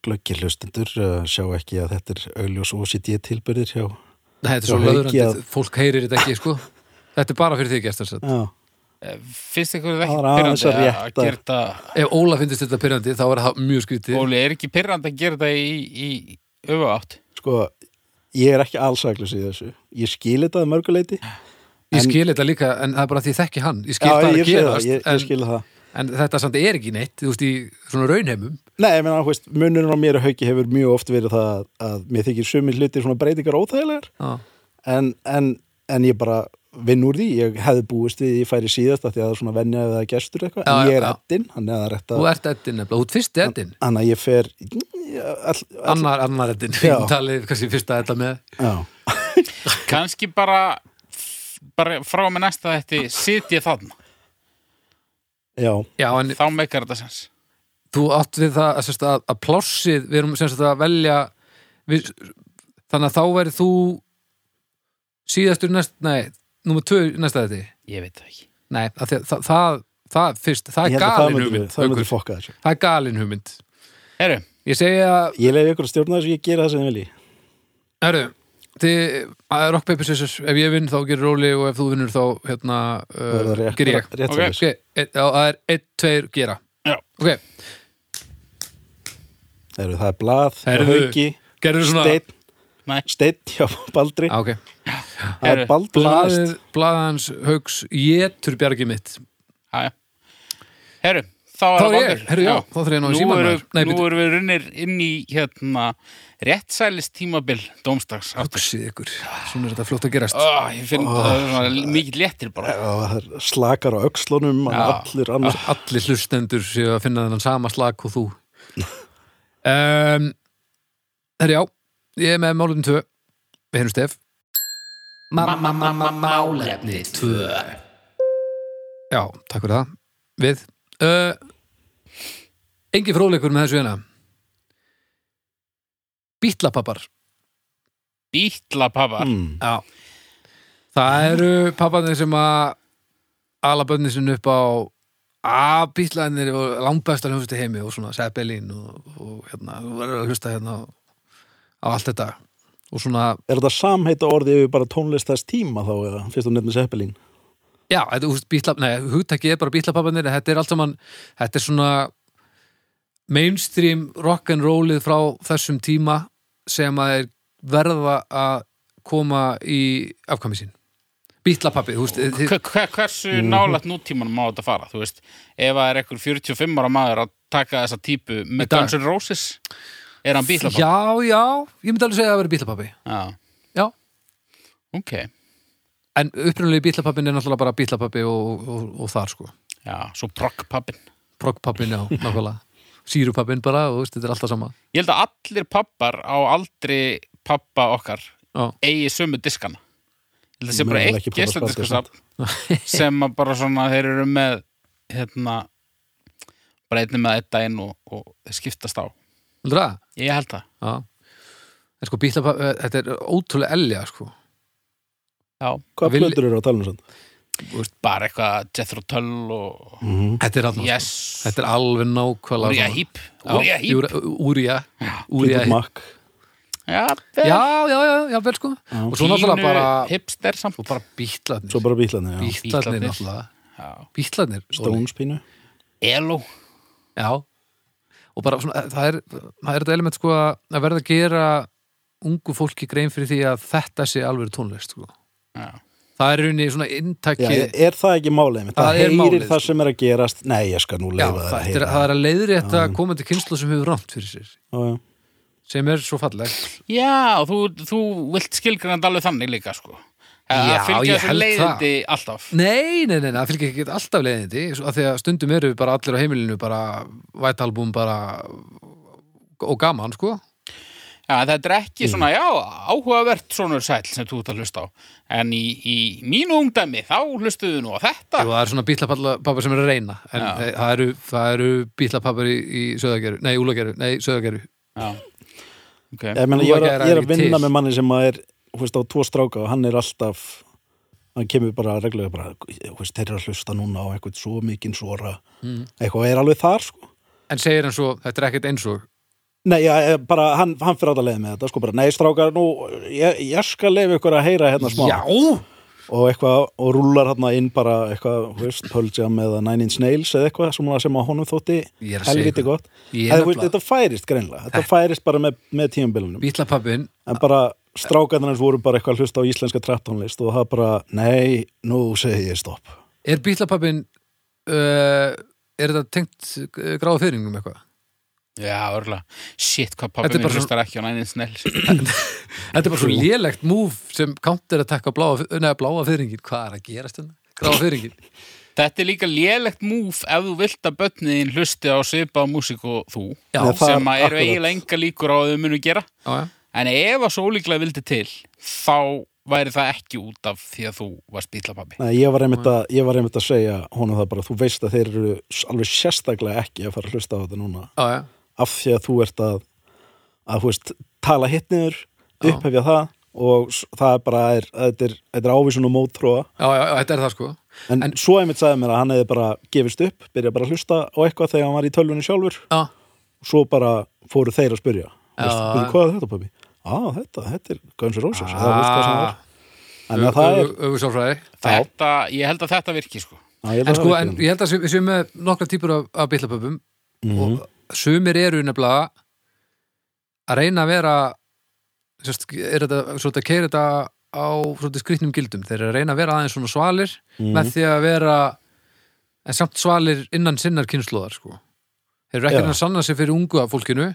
glöggir hlustendur uh, sjá ekki að þetta er augljós OCD tilbyrðir hjá Nei, þetta er Já, svo Hauki að- löðurandi, fólk heyrir þetta ekki, sko. Þetta er bara fyrir því gestar sett. já, Eh, finnst ykkur það Það er ekki aðeins pyrrandi að að, rétta. að gera þetta Ef Óla finnst þetta pyrrandi, þá er það mjög skrítið. Óli, er ekki pyrrandi að gera þetta í, í öfu átt sko ég er ekki allsaklis í þessu ég skil þetta að mörguleiti Ég skil þetta líka, en það er bara því ég þekki hann. Ég skil já, það að ég, sé það, gerast, ég, ég skil það en, en þetta samt er ekki neitt, þú veist, í svona raunheimum. Nei, ég meina, þú veist, munurinn á mér og hauki hefur mjög oft verið það að, að mér þykir sumir hlutir svona breytingar óþægilegar Já, en, en, en ég bara vinn úr því, ég hefði búist við að ég færi síðast af því að það er svona venja eða gestur eitthvað, Já, en já, ég er já. eddin hann eða rétt þú að, ert eddin nefnilega, þú ert fyrsti eddin. hann að ég fer all, all, Annar, annar eddin, Já. talið kannski fyrsta edda með. já, kannski bara bara frá með næsta þetta sit ég þarna, já, Já, en þá meikar þetta sens þú átt við það að, sérst, að, að plássið, við erum semst að velja við, þannig að þá verið þú síðastur næst, nei, númer tvö í næsta þetta, ég veit það ekki nei, að því, að það, það, það fyrst, það ég er held að það galin myndi, hugmynd það myndi Haukur. fokka þessu það er galin hugmynd Heru, ég segi að, ég leiði ykkur að stjórna þessu, ég gera það sem ég vilji herru þið, að Rock Paper Scissors, ef ég vinn þá gerir Róli og ef þú vinnur þá hérna, það er uh, rétt, gerir ég rétt, rétt Ok. okay. ok, eitt- já, það er 1, 2, gera já, ok, Heru, það er blað, það er Heyrðu, hauki gerir svona steinn, Nei. steinn hjá Baldri ah, okay. það er heyrðu, Baldur sem blaðið, næst. blaðans haugs getur bjargi mitt já, já Heru, þá er Þá það er ég, vandur heyrðu, já, þá þarf ég að ná í nú, símann, maður. Nei, eru- nú bíddu. erum við runnir inn í hérna, réttsælis tímabil dómstags aftur. Hugsið ykkur, svona er þetta fljótt að gerast Ó, ég finn oh. það er svona mikið léttir bara Já, Eh, það er slakar á öxlunum já. Já. allir annars Allir hlustendur séu að finna þennan sama slag og þú um, Herri já, ég er með málefni 2 Við hennum Stef Málefni 2 Já, takk fyrir það Við uh, Engi fróðleikur með þessu hérna Bítlapappar Bítla pappa mm. Já Það eru papparnir sem að ala bönni sinni upp á að bílæðinir og langbæstar hljóðstu heimi og svona Seppelin og, og hérna, þú verður að hlusta hérna á- á allt þetta og svona, Er þetta samheita orðið yfir bara tónlist þess tíma þá eða fyrst um nefnir Seppelín? já, þetta úst bíla nei, hugtakið er bara bílapapparnir en þetta er allt saman, þetta er svona mainstream rock'n'rollið frá þessum tíma sem að er verða að koma í afkvæmi sín bílapappið, þú veist þið- Mhm. Hver- hver- hversu nálægt nútímanum má þetta fara þú veist, ef það er ekkur 45 ára maður að taka þessa típu með dag. Guns N' Roses er hann bítla pappa Já, já, ég myndi alveg segja að það veri bílapappi já, Já, ok, en upprunalegi bílapappin er náttúrulega bara bílapappi og, og, og þar sko já, svo progg pappin Proggpappin, já, nákvæmlega Sýrupappin bara, og þú veist, þetta er alltaf sama ég held að allir pappar á aldri pappa okkar Já, eigi sömu diskana ég held að sé bara Mögulega eitt ekki pabba geisladiskasafn sem að bara svona þeir eru með hérna bara einnig með einn daginn og, og þeir skiptast á heldur það? ég held það Já En sko bílapappi, þetta er ótrúlega elja sko já. Hvað Vil- plötur eru að tala um svona? bara eitthvað Jethro Tull og Þetta er alltaf yes, Þetta er alveg nákvæmlega Úrja sama. Hýp Já, Úrja Hýp Úrja- Úrja Úrja Fleetwood Hýp Mac Já, Já, já, já, já, vel sko Og svo náttúrulega bara hipster samt Og bara bítlarnir Svo bara bílarnir, já Bítlarnir Bítlarnir. náttúrulega Já. Bítlarnir Óli. Stones pínu Elo Já Og bara svona, það er, það er þetta element sko að verða að gera ungu fólki grein fyrir því að þetta sé alveg tónlist sko. Já. Það er rauninni svona Já, inntæki er það ekki málið mitt? Það er Það heyrir málið, sko. það sem er að gerast Nei, ég skal nú Já, leifa það að það er, heyra það er að leiðri þetta komandi kynslu sem hefur rámt fyrir sér Já, já. sem er svo fallegt Já, þú, þú vilt skilgrænda alveg þannig líka sko Að Já, fylgja ég þessu held leiðindi alltaf Nei, nei, nei, nei, það fylgir ekki alltaf leiðindi svo að því að stundum eru bara allir á heimilinu bara White Album bara og gaman, sko Já, þetta er Mm. ekki svona, já, áhugavert svona sæl sem þú ert að hlusta á En í, í mínu ungdæmi, þá hlustuðu nú á þetta og það er svona bílapappar sem er að reyna en Já. það eru, það eru bílapappar í, í söðageru, nei, úlageru, nei, söðageru Já, ok. ég, meina, ég, er, að- ég er Trúargæra er að ekki vinna til. með manni sem að er þú veist, á tvo stráka og hann er alltaf hann kemur bara reglulega bara, þú veist, þeir eru að hlusta núna á eitthvað svo mikinn svora Mm. eitthvað er alveg þar sko En segir hann svo, þetta er ekkert eins og Nei, já, eh, bara hann, hann fyrir alltaf leið með þetta sko bara, nei strákar, nú, ég, ég skal leið ykkur að heyra hérna smá og eitthvað, og rúlar hérna inn bara eitthvað, þú veist, Pearl Jam eða Nine Inch Nails eða eitthvað sem, sem að honum þótti Ég er að segja helviti ykkur. gott Ég er Eða, þú veist, nefnilega- þetta færist greinlega, þetta færist bara með, með tíumbilunum bítlapappin en bara strákarnir voru bara eitthvað að hlusta á íslenska trapptónlist og það bara, nei, nú segi ég stopp Er bítlapappin uh, er þetta tengt uh, gráða fyrringum eitthvað? Já, örgulega. Shit, hvað Þetta er pappi bara mér svo- hlustar ekki á næðin snell. Þetta er bara svo lélegt múf sem counter að taka bláa, neða, bláa fyrringin Hvað er að gerast hérna? Gráða fyrringin Þetta er líka lélegt múf ef þú vilt að börniðin hlusti á svipaða músík og þú. Já. Nei, það er sem að eru akkurat. eiginlega enga líkur á að þau munu gera. Já, já En ef að svo líklega vildi til, þá væri það ekki út af því að þú varst bílapappi. Nei, ég var einmitt að, ég var einmitt að segja honum það bara, þú veist að þeir eru alveg sérstaklega ekki að fara að hlusta á þetta núna Já, já, af því að þú ert að að þú veist, tala hitt niður upphefja það og s- það er bara, er, þetta er, þetta er ávísun og mótróa já, já, já, þetta er það sko en, En- svo einmitt sagði mér að hann hefði bara gefist upp, byrjað bara að hlusta á eitthvað þegar hann var í tölvunni sjálfur Já, svo bara fóru þeir að spyrja Þú veist, Já. "Bíddu, hvað er þetta pabbi? Á, þetta, þetta er Guns N' Roses það var það Ah. sem var en að það er, Ögusálfræði Já. Þetta, ég held að þetta virki, sko. á, ég held En að sko, það er en ekki hérna. ég held að sé- við séum með nokkra típur af, af bíllapöpum Mhm. og sumir eru nefnilega að reyna að vera sérst, er þetta, svolítið að keira þetta á svolítið skrýtnum gildum þeir eru að reyna að vera aðeins svona svalir með því að vera en samt svalir innan sinnar kynnslóðar sko. þeir eru ekki Já. að reyna að sanna sig fyrir ungu af fólkinu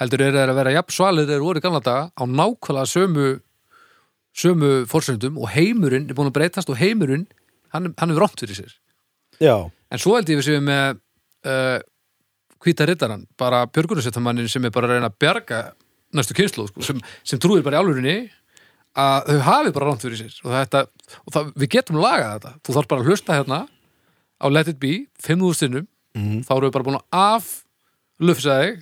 heldur eru þeir að vera jafn svalir þeir voru í gamla daga á nákvæmlega sömu sömu fórsöndum og heimurinn er búin að breytast og heimurinn hann, hann er vrómt fyrir sér já, En svo held ég við séum með uh, hvíta rittaran, bara björgunarsetamannin sem er bara að reyna að bjarga næstu kynslu, sko, sem, sem trúir bara í álurinni að þau hafi bara rámt fyrir sér og, þetta, og það, við getum lagað þetta þú þarf bara að hlusta hérna á Let It Be, 5.000 sinnum þá erum við bara búin að aflufsa þig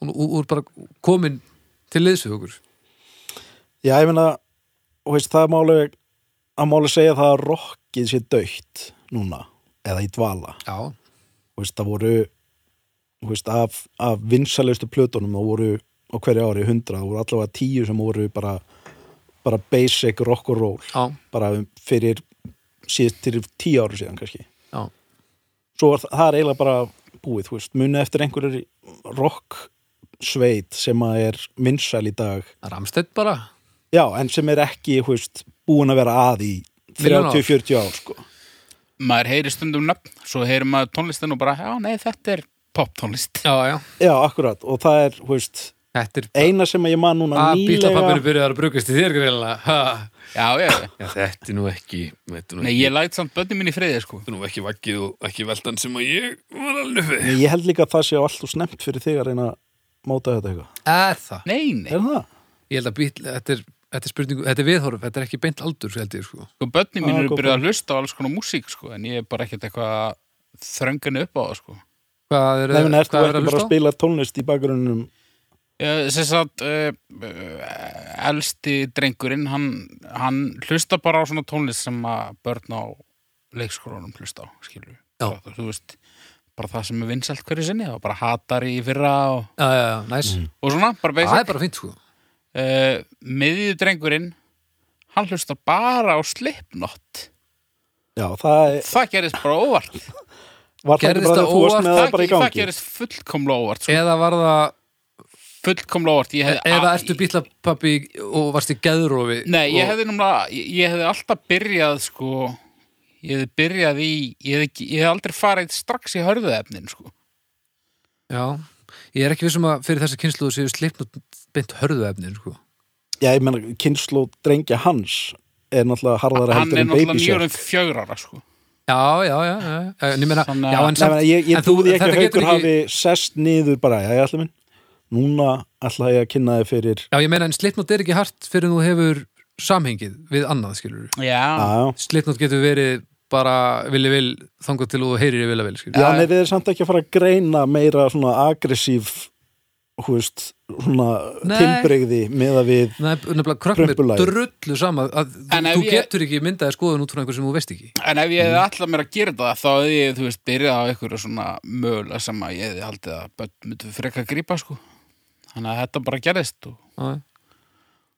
og nú- og úr bara komin til liðs við okkur já, ég meina þú veist, það er máli að máli segja það að rockið sé dögt núna, eða í dvala Já, Þú veist, það voru þú veist, af, af vinsalegustu plötunum það voru á hverju ári hundra það voru allavega tíu sem voru bara bara basic rock and roll já, bara fyrir síðast til tíu ári síðan kannski já, svo var það, það er eiginlega bara búið þú veist, muni eftir einhverjur rock sveit sem að er vinsal í dag Ramstedt bara já, en sem er ekki þú veist, búin að vera að í Milljón ár. 30-40 ár sko. Maður heyri stundum nöfn, svo heyri maður tónlistin og bara, já, nei, þetta er poptónlist. Já, já, já, akkurat, og það er þú veist, þetta er eina sem að ég man núna að nýlega bílapappinu byrjar að brugast í þér greinlega Ha. Já, já, já. Já, þetta er nú ekki Þetta er nú Nei, ekki, ég læt samt börnum minni í friði, sko. þetta er nú ekki vakið og ekki veldan sem að ég var alveg við Nei, ég held líka að það sé alltaf snemt fyrir þig að reyna að móta þetta eitthvað. Er það? Nei, nei. Er það? Ég held að bíl, þetta er, þetta er spurningu, þetta er viðhorf, þetta er ekki beint aldur, svo held ég, sko Sko, börnum mín Ah, eru góð byrjuð að hlusta á alls konar músík, sko, en ég er bara ekkert eitthvað að þröngan upp á það, sko. Hvað er, Nei, menn, ertu hvað er að ekki bara að hlusta á? spila tónlist í bakgrunnum? Ég, sem sagt, uh, elsti drengurinn, hann, hann hlusta bara á svona tónlist sem að börn á leikskólanum hlusta á, skilur við. Já. Þú, þú veist, bara það sem er vinsælt hverju sinni, það var bara hatar í fyrra og, Já, já, já, næs Mm. og svona, bara Það basic. er bara fínt, sko uh, miðju drengurinn, hann hlusta bara á Slipknot. Já, það er, Það gerist bara óvart. var það Gerðist ekki bara það að þú varst óvart? með það bara í það gangi? gerist fullkomlega óvart sko. Eða var það, fullkomlega óvart ég hefði, eða ertu bílapappi og varst í geðrófi nei, ég og- hefði, númlega, ég, ég hefði alltaf byrjað sko, ég hefði byrjað í ég hefði, ekki- ég hefði aldrei farið strax í hörðuðefnin sko. Já, ég er ekki vissum að fyrir þessa kynsluðu séu slipnut beint hörðuefnin, sko Já, ég menna, kynslu drengja hans er náttúrulega harðara hann heldur er en náttúrulega baby mjög shark. um fjögur ára sko. Já, já, já, já, já, en ég meina, Þannig að- já, en Nei, samt menna, ég, en ég þú- trúði ekki þetta að getur haukur hafi sest niður bara, já, ég ætla minn. Núna ætla ég að kynna þið fyrir, Já, ég meina, en slipnót er ekki hart fyrir þú hefur samhengið við annað, skilur við. já, já, já. Slipnót getur verið bara vilja vil þangað til þú heyrir í vilja vil, skilur Já, nei, þið er samt ekki að fara að greina meira svona aggressív hú veist, svona Nei. tilbreyði með að við Nei, nefnilega krökkum er Prumpulagið. drullu sama að En þú ef þú ég- getur ekki myndaði skoðun út frá einhver sem þú veist ekki En ef ég hefði Mm. alltaf mér að gera það þá hefði ég, þú veist, byrjað á einhverju svona mögulega sem að ég hefði haldið að börn myndu frekar að grípa, sko Þannig að þetta bara gerðist og Já,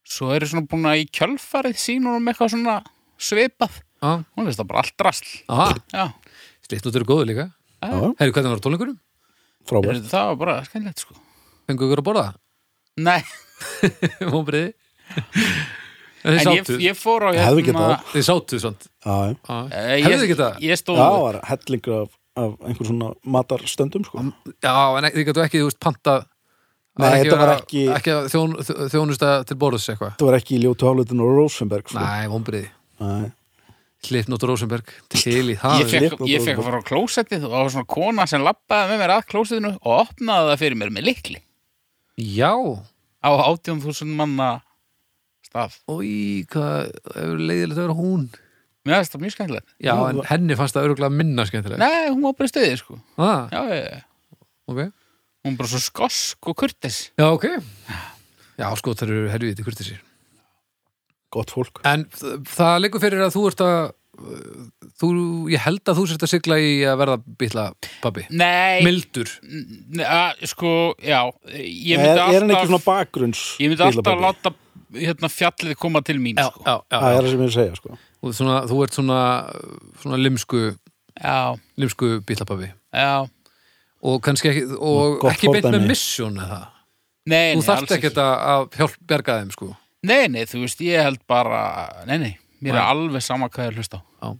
svo er ég svona búin að í kjölfarið sínur um eitthvað svona svipað já, Hún veist það bara allt rasl aha, Já, slitnútur eru góðu líka Já, Heyrðu, hvernig var á tónleikunum? frábært það var bara skænlegt, sko Fengu ykkur að borða? Nei, Vombriði Þið en ég, sátu, ég fór á hérna- Hefði getað. þið sátu svont Já, já. Já, Eh, Hefðu þið ég, getað? ég Já, stóð það var hellingur af, af einhver svona matarstöndum sko. já en þið getur ekki, þú veist, panta Nei, að þetta var vera- ekki- Ekki að þjón, þjó- þjónusta til borðs eitthvað Þetta var ekki í ljótu hálutinu og Rosenberg sko. Nei, vombriði Nei. Slitnútur Rosenberg, til í það Ég fekk, Slitna ég fekk að fara á klósettið og það var svona kona sem lappaði með mér að klósettinu og opnaði það fyrir mér með likli Já, á 18.000 manna stað. oi, hvað hefur leiðilegt að vera hún Mér finnst það mjög skemmtilegt. Já, en henni fannst það öruglega minna skemmtilega Nei, hún var bara í stöðið, sko. ah, Já, já, já. ok Hún var bara svo skosk og kurtis. Já, ok Já, sko, það eru herfið til kurtisir Gott fólk En þ- það liggur fyrir að þú ert að uh, þú, ég held að þú sért að sigla í að verða býtla pabbi Nei, Mildur n- að, sko, já. Ég Er, myndi er hann ekki alltaf, svona bakgrunns ég myndi alltaf bílabók? láta hérna, fjallið koma til mín, Já, sko. já, Það já, er það sem ég er að segja sko. Og svona, Þú ert svona, svona limsku, Já, limsku býtla pabbi já. og kannski ekki, og Gott ekki beint fordæmi. með misjón eða það Nei, Þú nei, þarft alls ekki þetta að hjálp bjarga þeim sko Nei, nei, þú veist, ég held bara Nei, nei, mér er Nei. alveg sama hvað ég hlusta á Já.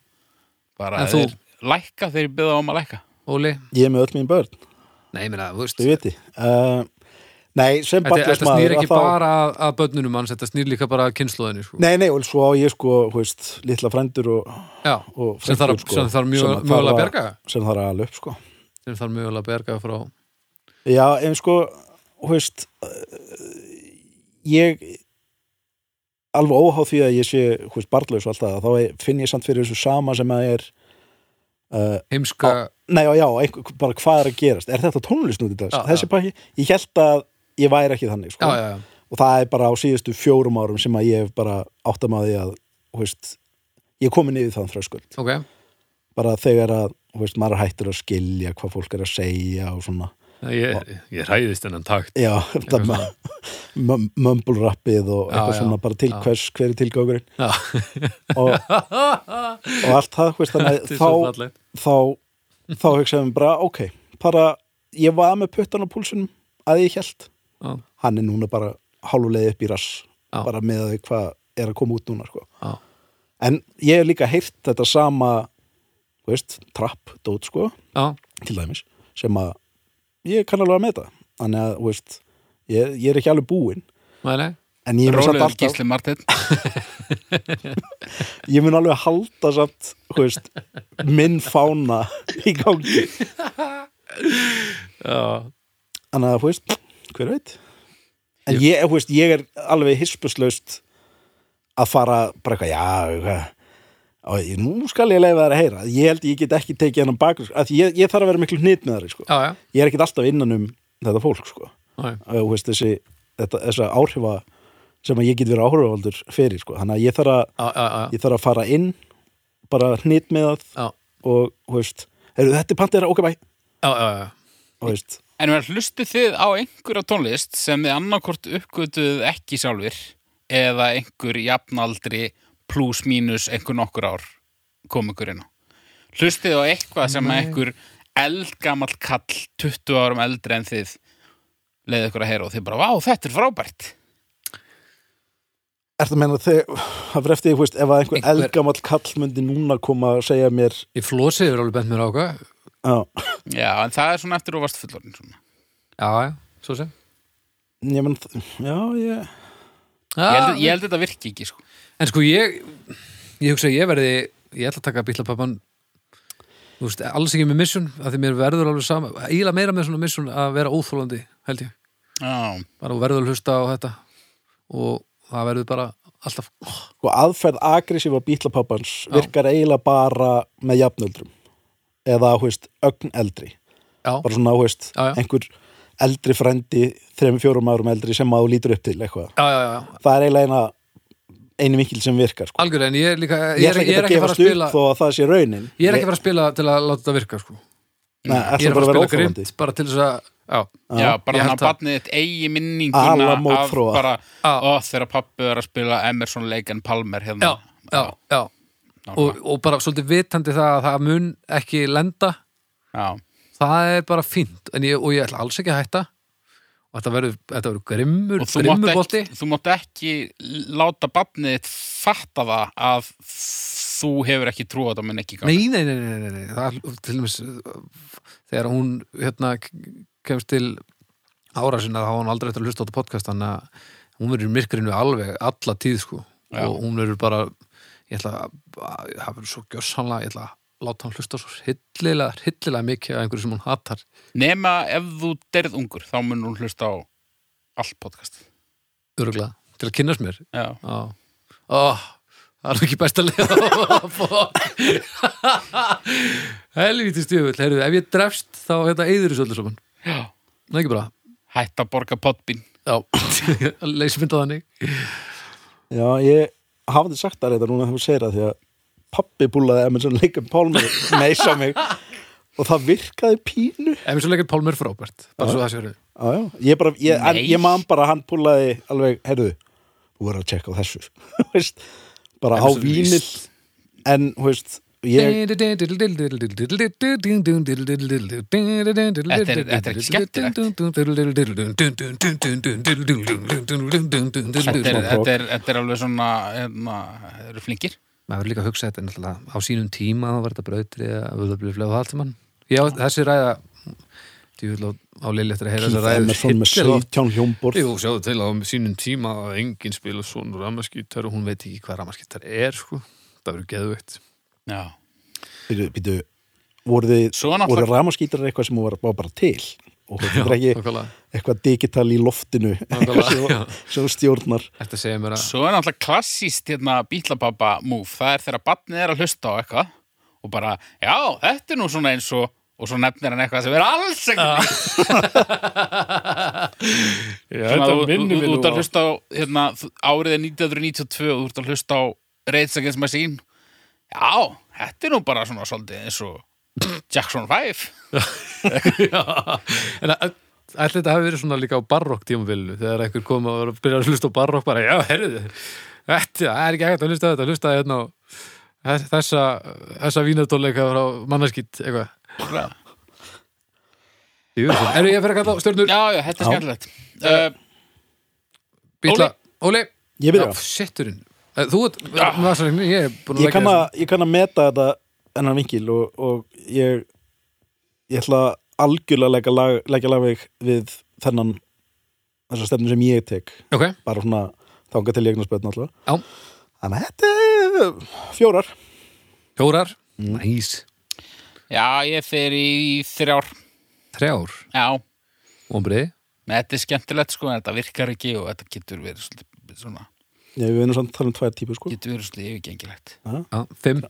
Bara En að þú- þeir lækka þegar ég byrða um að lækka Óli, Ég er með öll mín börn, nei, ég meina, þú veist þau viti uh, Nei, sem Þetta, þetta snýr barnlagsmaður ekki að þá- bara að, að bönnunum hans, þetta snýr líka bara að kynnslóðinu sko. Nei, nei, og svo á ég sko, hú veist, litla frændur og, Já, og sem þarf, frænkur, sko, sem þarf mjög, sem þarf mögulega að bjarga Sem þarf að ala upp, sko sem þarf mjögulega að bjarga frá Já, en sko, hú veist eh, Ég alveg óháð því að ég sé, hú veist, barnlaus og allt það, þá finn ég samt fyrir þessu sama sem að er uh, heimska Nei, já, já, einhver, bara hvað er að gerast Er þetta tónlist nú til þess? Já, Þessi já. pakki, ég held að ég væri ekki þannig, sko já, já, já. og það er bara á síðustu fjórum árum sem að ég hef bara áttamaði að þú veist, ég er komin yfir þann þröskuld ok, bara þegar að þú veist, maður er hættur að skilja hvað fólk er að segja og svona ég, ég ræðist enn takt já, þetta svona. mum- mumble rappið Já, og eitthvað já, svona bara til já. hvers, hver er tilgangurinn já, og, og allt það þú veist, þannig, þetta er að svo þá, fallegt þá, þá, þá hugsaðum bara, ok bara, ég var með puttan á púlsunum að ég held, já, hann er núna bara hálfuleið upp í rass Já. bara með að því hvað er að koma út núna sko. já, En ég hef líka heyrt þetta sama, þú veist, trapp, dót, sko, já, til dæmis, sem að ég kann alveg að meta. Þannig að, þú veist, ég, ég er ekki alveg búinn, nei, nei en ég mun samt Rólegur alltaf, Gísli Martin ég mun alveg halda samt, þú veist, minn fána í gangi. já, Þannig að, þú veist, hver veit? En ég, þú veist, ég er alveg hispuslaust að fara bara eitthvað, já, eitthvað, og ég- nú skal ég leifa þær að heyra. Ég held ég get ekki tekið hennan bakur, að ég, ég þarf að vera miklu hnýtt með þar, sko. já, já, ég er ekkert alltaf innan um þetta fólk sko. já. og þú veist, þessi, þetta, þessi áhrifa sem að ég get verið áhrifavaldur fyrir sko. þannig að ég þarf að, Já, já, já, ég þarf að fara inn bara hnýtt með það já, og þú veist, heyrðu, þetta er pantera ok bæ og já, já, já. þú veist, En verður hlustu þið á einhverja tónlist sem þið annarkort uppgötuð ekki sjálfur eða einhver jafnaldri plus mínus einhver nokkur ár kom ykkur inn á Hlustið á eitthvað sem Nei. einhver eldgamall kall 20 árum eldri en þið leiði ykkur að heyra og þið bara, vá, þetta er frábært ertu að meina þegar það fyrir eftir, þú veist, ef að einhver, Einhver- eldgamall kall myndi núna koma að segja mér Í flósið er alveg bent mér á hvað á, Já, en það er svona eftir og varst fullorinn svona. Já, já, svo sem ég menn, já, ég Ég já, held, ég held þetta virki ekki, sko. En sko ég ég hugsa að ég verði, ég ætla að taka bílapappan þú veist, alls ekki með missun að því mér verður alveg sama, eiginlega meira með svona missun að vera óþólandi, held ég Já, bara þú verður að hlusta á þetta og það verður bara alltaf oh, sko, aðferð agressífa bítlapappans virkar eiginlega bara með jafnöldrum eða, þú veist, ögn eldri já, bara svona, þú veist, Já, já. einhver eldri frendi, þremi fjórum árum eldri sem maður lítur upp til eitthvað. já, já, já, Það er eiginlega eina, einu mikil sem virkar, sko. algjörlega en ég er líka, Ég, ég er, ég ætla ekki er að ekki að gefa fara að stuð spila þó að það sé raunin. ég er ekki að fara að spila til að láta þetta virka sko. Nei, ég er ætla að bara að fara vera að spila grimt óþólandi. bara til þess að, já, Já, bara ég þannig held að það. barnið þitt eigi Alla minninguna af mótþróa. bara, Já. ó, þegar pappi er að spila Emerson Lake and Palmer já, hérna. já, já og, nákvæmlega. og bara svolítið vitandi það að það mun ekki lenda já. það er bara fínt En ég, og ég ætla alls ekki að hætta og þetta verður, þetta verður grimmur, Og þú mátt, grimmur ekki, bolti þú mátt ekki láta barnið þitt fatta það að þú hefur ekki trú á þetta menn ekki gangi. nei, nei, nei, nei, nei, nei. Það, er til dæmis uh, þegar hún hérna k- kemst til ára sinna þá á hún aldrei eftir að hlusta á þetta podcast þannig að hún verður í myrkrinu alveg alla tíð sko Já. og hún verður bara ég ætla að, að það verður svo gjössanlega ég ætla að láta hann hlusta svo hryllilega, hryllilega mikið af einhverju sem hún hattar Nema ef þú derð ungur, þá mun hún hlusta á allt podcast. öruglega til að kynnast mér Já. Já. Ó, það er nú ekki best að leiða Helviti stjöfull, heyrðu, ef ég drefst þá þetta eyður þessu öllu saman Já. Það er ekki bara Hætt að borga potbín. Já, leysmyndað þannig Já, ég hafði sagt það reyndar núna þegar þú segir það því að pappi búlaði Emerson Lake and Palmer meisa mig og það virkaði pínu. Ef við svo leikir Pálmer frábært bara svo það séu Já, já. Ég, bara, ég, en, Nei. ég man bara að hann púlaði alveg, heyrðu, þú verður að tjekka á þessu, Þú veist, bara á Emerson vínil, List. en, þú veist, ég, Þetta Þetta er- þetta er ekki skemmtilegt. Þetta er, skemmtilegt þetta er, þetta er alveg svona, hérna, þeir eru flinkir. maður verður líka að hugsa þetta náttúrulega á sínum tíma þá var þetta brautrið að við það blið flega allt saman já, þessi ræða djúvill á, á Lili eftir að heyra þessa Keith ræðu Emerson með hryllilega oft. 17 hjómborð. Jú, sjáðu til að á sínum tíma að enginn spila svona ramaskítar og hún veit ekki hvað ramaskítar er sko. það verður geðveikt Já. Býtu, býtu, voru þið, Svo náttúrulega- voru ramaskítarar eitthvað sem var, var bara til og þetta er ekki nákvæmlega. eitthvað digital í loftinu Nákvæmlega, sem, já. sem þú stjórnar. Þetta segja mér að Svo er náttúrulega klassíst, hérna, bílapappa move. Það er þegar barnið er að hlusta á eitthvað og bara, já, þetta er nú svona eins og, og svo nefnir hann eitthvað sem er alls ekkert Svona, þú- þú- Þú ert að hlusta á hérna, þú- árið er 1992 og þú ert að hlusta á Rage Against Machine Já, þetta er nú bara svona svolítið eins og Jackson 5 En að- ætli þetta hafi verið svona líka á barokk tímabilinu þegar einhver kom að byrja að hlusta á barokk bara, já, herriði, þetta það er ekki ekkert að hlusta á þetta, hlusta hérna á þess- þessa, þessa vínardóleika frá mannaskýtt, eitthvað Jú, svo- Erum ég að fyrir að kalla á stjörnur? Já, já, þetta er skemmtilegt uh, Bíla, Óli Ég byrja. Já, Sitturinn Eh, Þú ert, maður, ég er búin að Ég leggja kann, að, ég kann að meta þetta ennan vinkil og, og ég ég ætla algjörlega að leggja lag, leggja lagveg við þennan þessar stefnu sem ég tek Ok, bara svona þangað til ég eignast börn alltaf já, þannig að þetta er fjórar fjórar Næs, Já, ég fer í þrjár þrjár Já, Vombriði þetta er skemmtilegt sko en þetta virkar ekki og þetta getur verið svolítið svona, Já, við erum samt að tala um tvær típur sko getur verið svolítið yfirgengilegt Já, fimm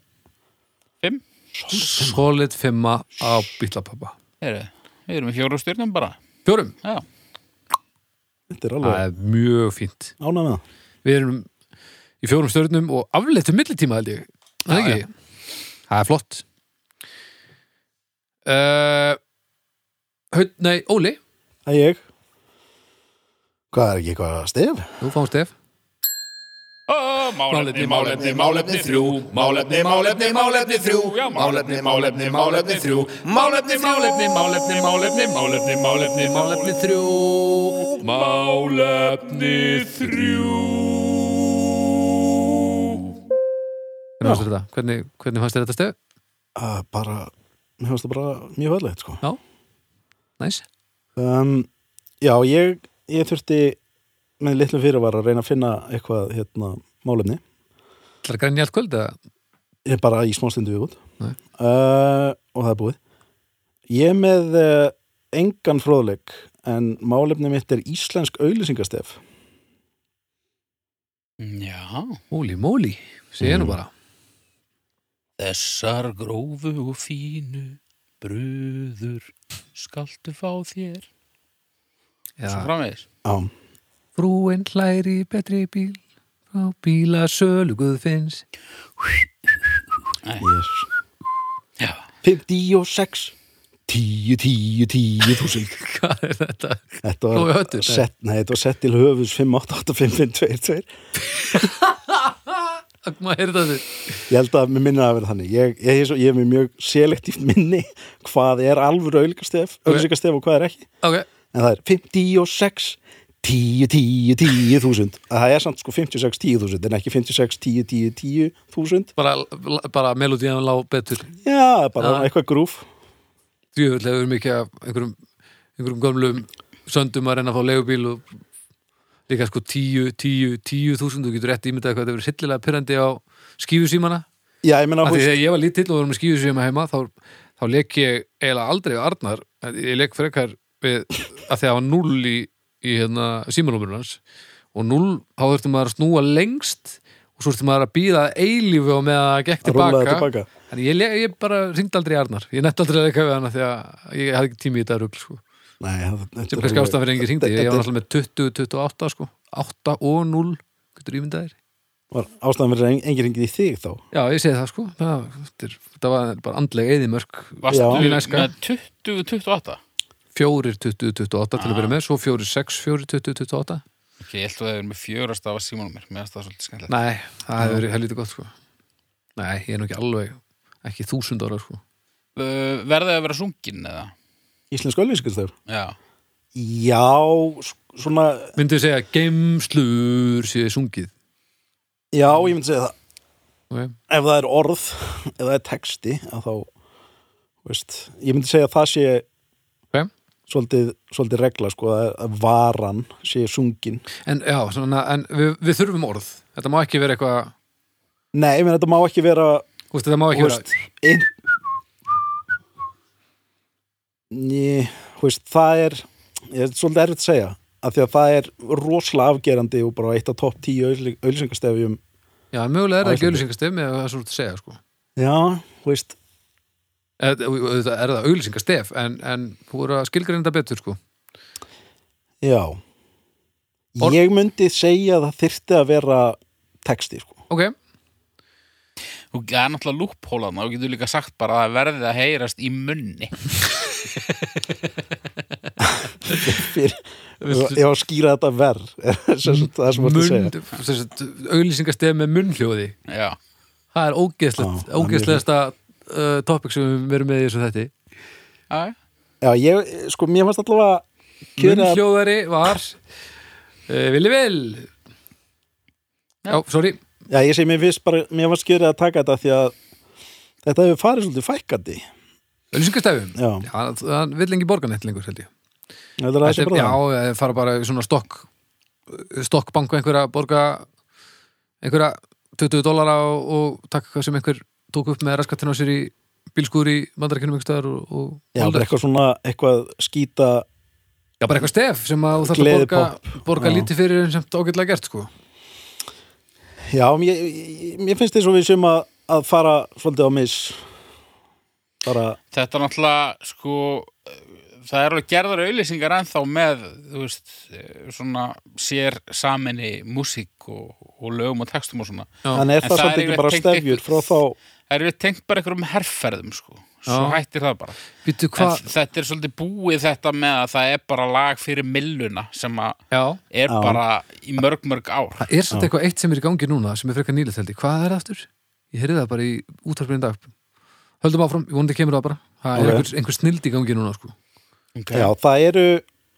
Fimm, Solid fimma á bílapappa Heru, við erum í fjóru stjórnum bara Fjórum, Já, Þetta er það alveg er mjög fínt ánað með það Við erum í fjórum stjörnum og afleitum millitíma held ég Það er ekki Það er flott uh, haut, Nei, Óli Það er ég Hvað er ekki eitthvað stef? Þú fáum stef Ó, málefni, málefni, málefni þrjú, málefni, málefni, málefni þrjú, já, málefni, málefni, málefni þrjú, málefni, málefni, málefni, málefni, málefni, málefni, málefni þrjú, málefni þrjú. Hvernig fannst þér þetta? Hvernig, hvernig fannst þér þetta stef? Uh, bara, mér finnst það bara mjög verðlegt sko Já, næs Um, já, ég, ég þurfti með litlum fyrirvara að reyna að finna eitthvað hérna, málefni. Það er grænni allt kvöld eða? Ég er bara í smástundu við út. Nei. Uh, og það er búið. Ég er með uh, engan fróðleik en málefni mitt er íslensk auðlýsingastef. Já, Óli, móli, segja nú bara Þessar grófu og fínu bröður skaltu fá þér svo já. framvegis Já, Frúin hlæri betri bíl frá bíla sölu guðfinns yes Já. 56 10, 10, 10 þúsund Hvað er þetta? Þetta Blói var höttur, nei. sett, nei, þetta var sett til höfus 5, 8, 8, 5, 5, 2, 2 Maður heyrði það þig Ég held að mér minna að vera þannig Ég, ég, ég, ég er með mjög selektíft minni hvað er alvöru auðlíkastef auðlíkastef og hvað er ekki Ok, en það er 56 10, 10, 10 þúsund það er samt sko 56, 10 þúsund en ekki 56, 10, 10, 10 þúsund bara, bara melodíðan lá betur já, bara Já. eitthvað grúf Djöfull hefur mikið af einhverjum, einhverjum gömlum söndum að reyna að fá leigubíl og líka sko tíu, tíu, tíu þúsund þú getur rétt ímyndað hvað þetta verið sillilega pyrrandi á skífusímana já, ég meina, Af því húst, þegar ég var lítill og var með skífusíma heima þá, þá leik ég eiginlega aldrei við Arnar En ég leik frekar við að því að var null í, í hérna, símanúmurinn hans og null, þá þurfti maður að snúa lengst og svo þurfti maður að býða eilífu og með að það gekk Rúllaði tilbaka tilbaka. en ég, le- ég bara ringd aldrei í Arnar ég nefndi aldrei að leika við hana því að ég hafði ekki tími í þetta rugl sko. nei, það- þetta sem er kannski alveg- ástæðan fyrir engin ringdi ég þetta- var náttúrulega með 20, 28 sko. 8 og 0 getur ímyndaðir var ástæðan fyrir en- engin ringið í þig þá já ég segi það sko það, þetta er- þetta var bara andlega eðimörk Varstu Já. með Æska. 20-28? fjórir 20, 28 til að byrja með svo fjórir 6, fjórir 20, 28 Ok, ég held að það er með fjörast af að símanum mér Mér finnst það svolítið skemmtilegt nei, það hefur verið helviti gott sko nei, ég er nú ekki alveg ekki þúsund ára sko uh, Verða að vera sungin eða? Íslensk auðlíkastef Já, já, s- svona myndið segja gemslur séu sungið já, ég myndi segja það okay. ef það er orð, ef það er texti að þá, veist ég myndi segja að það sé Ok. svolítið, svolítið regla sko, að að varan sé sungin en já, svona, en við, við þurfum orð þetta má ekki vera eitthvað nei, menn þetta má ekki vera, þú veist, þetta má ekki vera veist inn Ný, veist, það er ég er svolítið erfitt að segja af því að það er rosalega afgerandi og bara eitt af topp tíu auðlýsingastefjum já, mögulega er það ekki Æsandi. auðlýsingastef með það er svo að segja sko já, veist Eð- auðvitað er það auðlýsingastef en, en þú voru að skilgreinda betur sko Já Or- Ég myndi segja að það þyrfti að vera texti sko. ok, og það er náttúrulega lúphólan og getur líka sagt bara að það verði að heyrast í munni Fyrir, ég var að skýra þetta verð sem sagt, það sem varst að segja mund auðlýsingastef með munnhljóði Já, Það er Já, ógeðslegt, það er mjög ógeðslegasta uh, topic sem við verum með í þessu þætti já, Já, ég, sko, mér varst allavega kjöra að Munnhljóðari var uh, Vili Vil Já, sorry Já, ég segi, mér finnst bara, mér varst kjöra að taka þetta því að þetta hefur farið svolítið fækandi Ölýsingastæfum Já, hann, hann vill engi borgan eitt lengur held ég þetta er aðeins Þetta er- bara Já, það það fara bara í svona stokk stokkbanku einhverja borga einhverja 20 dólara og, og takk hvað sem einhver tók upp með raskatina á sér í bílskúr í mandarækjunum einhverstaðar og, og Já, bara eitthvað svona, eitthvað skýta Já, bara eitthvað stef sem að þú þarf að borga, Gleðipopp. borga Já. lítið fyrir en semt ágætlega gert sko Já, mér, mér finnst þess að við sem að, að fara svolítið á miss bara, þetta er náttúrulega sko, eh, það er alveg gerðar auðlýsingar ennþá með, þú veist eh, svona sér saminni músík og, og lögum og textum og svona Já. þannig er En það það er svolítið ekki yfirleitt bara tengt stefjur frá ykkur- þá Það eru tengt bara einhverjum herrferðum sko, svo Já. hættir það bara Býttu En hvað þetta er svolítið búið þetta með að það er bara lag fyrir milluna sem að Já, er Já. bara í mörg mörg ár það er samt eitthvað eitt sem er í gangi núna sem er frekar nýlega held ég, hvað er það aftur? Ég heyrði það bara í útvarpinu í dag Höldum áfram, ég vonandi kemur það bara Það Ok. er einhver, einhver snild í gangi núna sko okay. Já, það eru,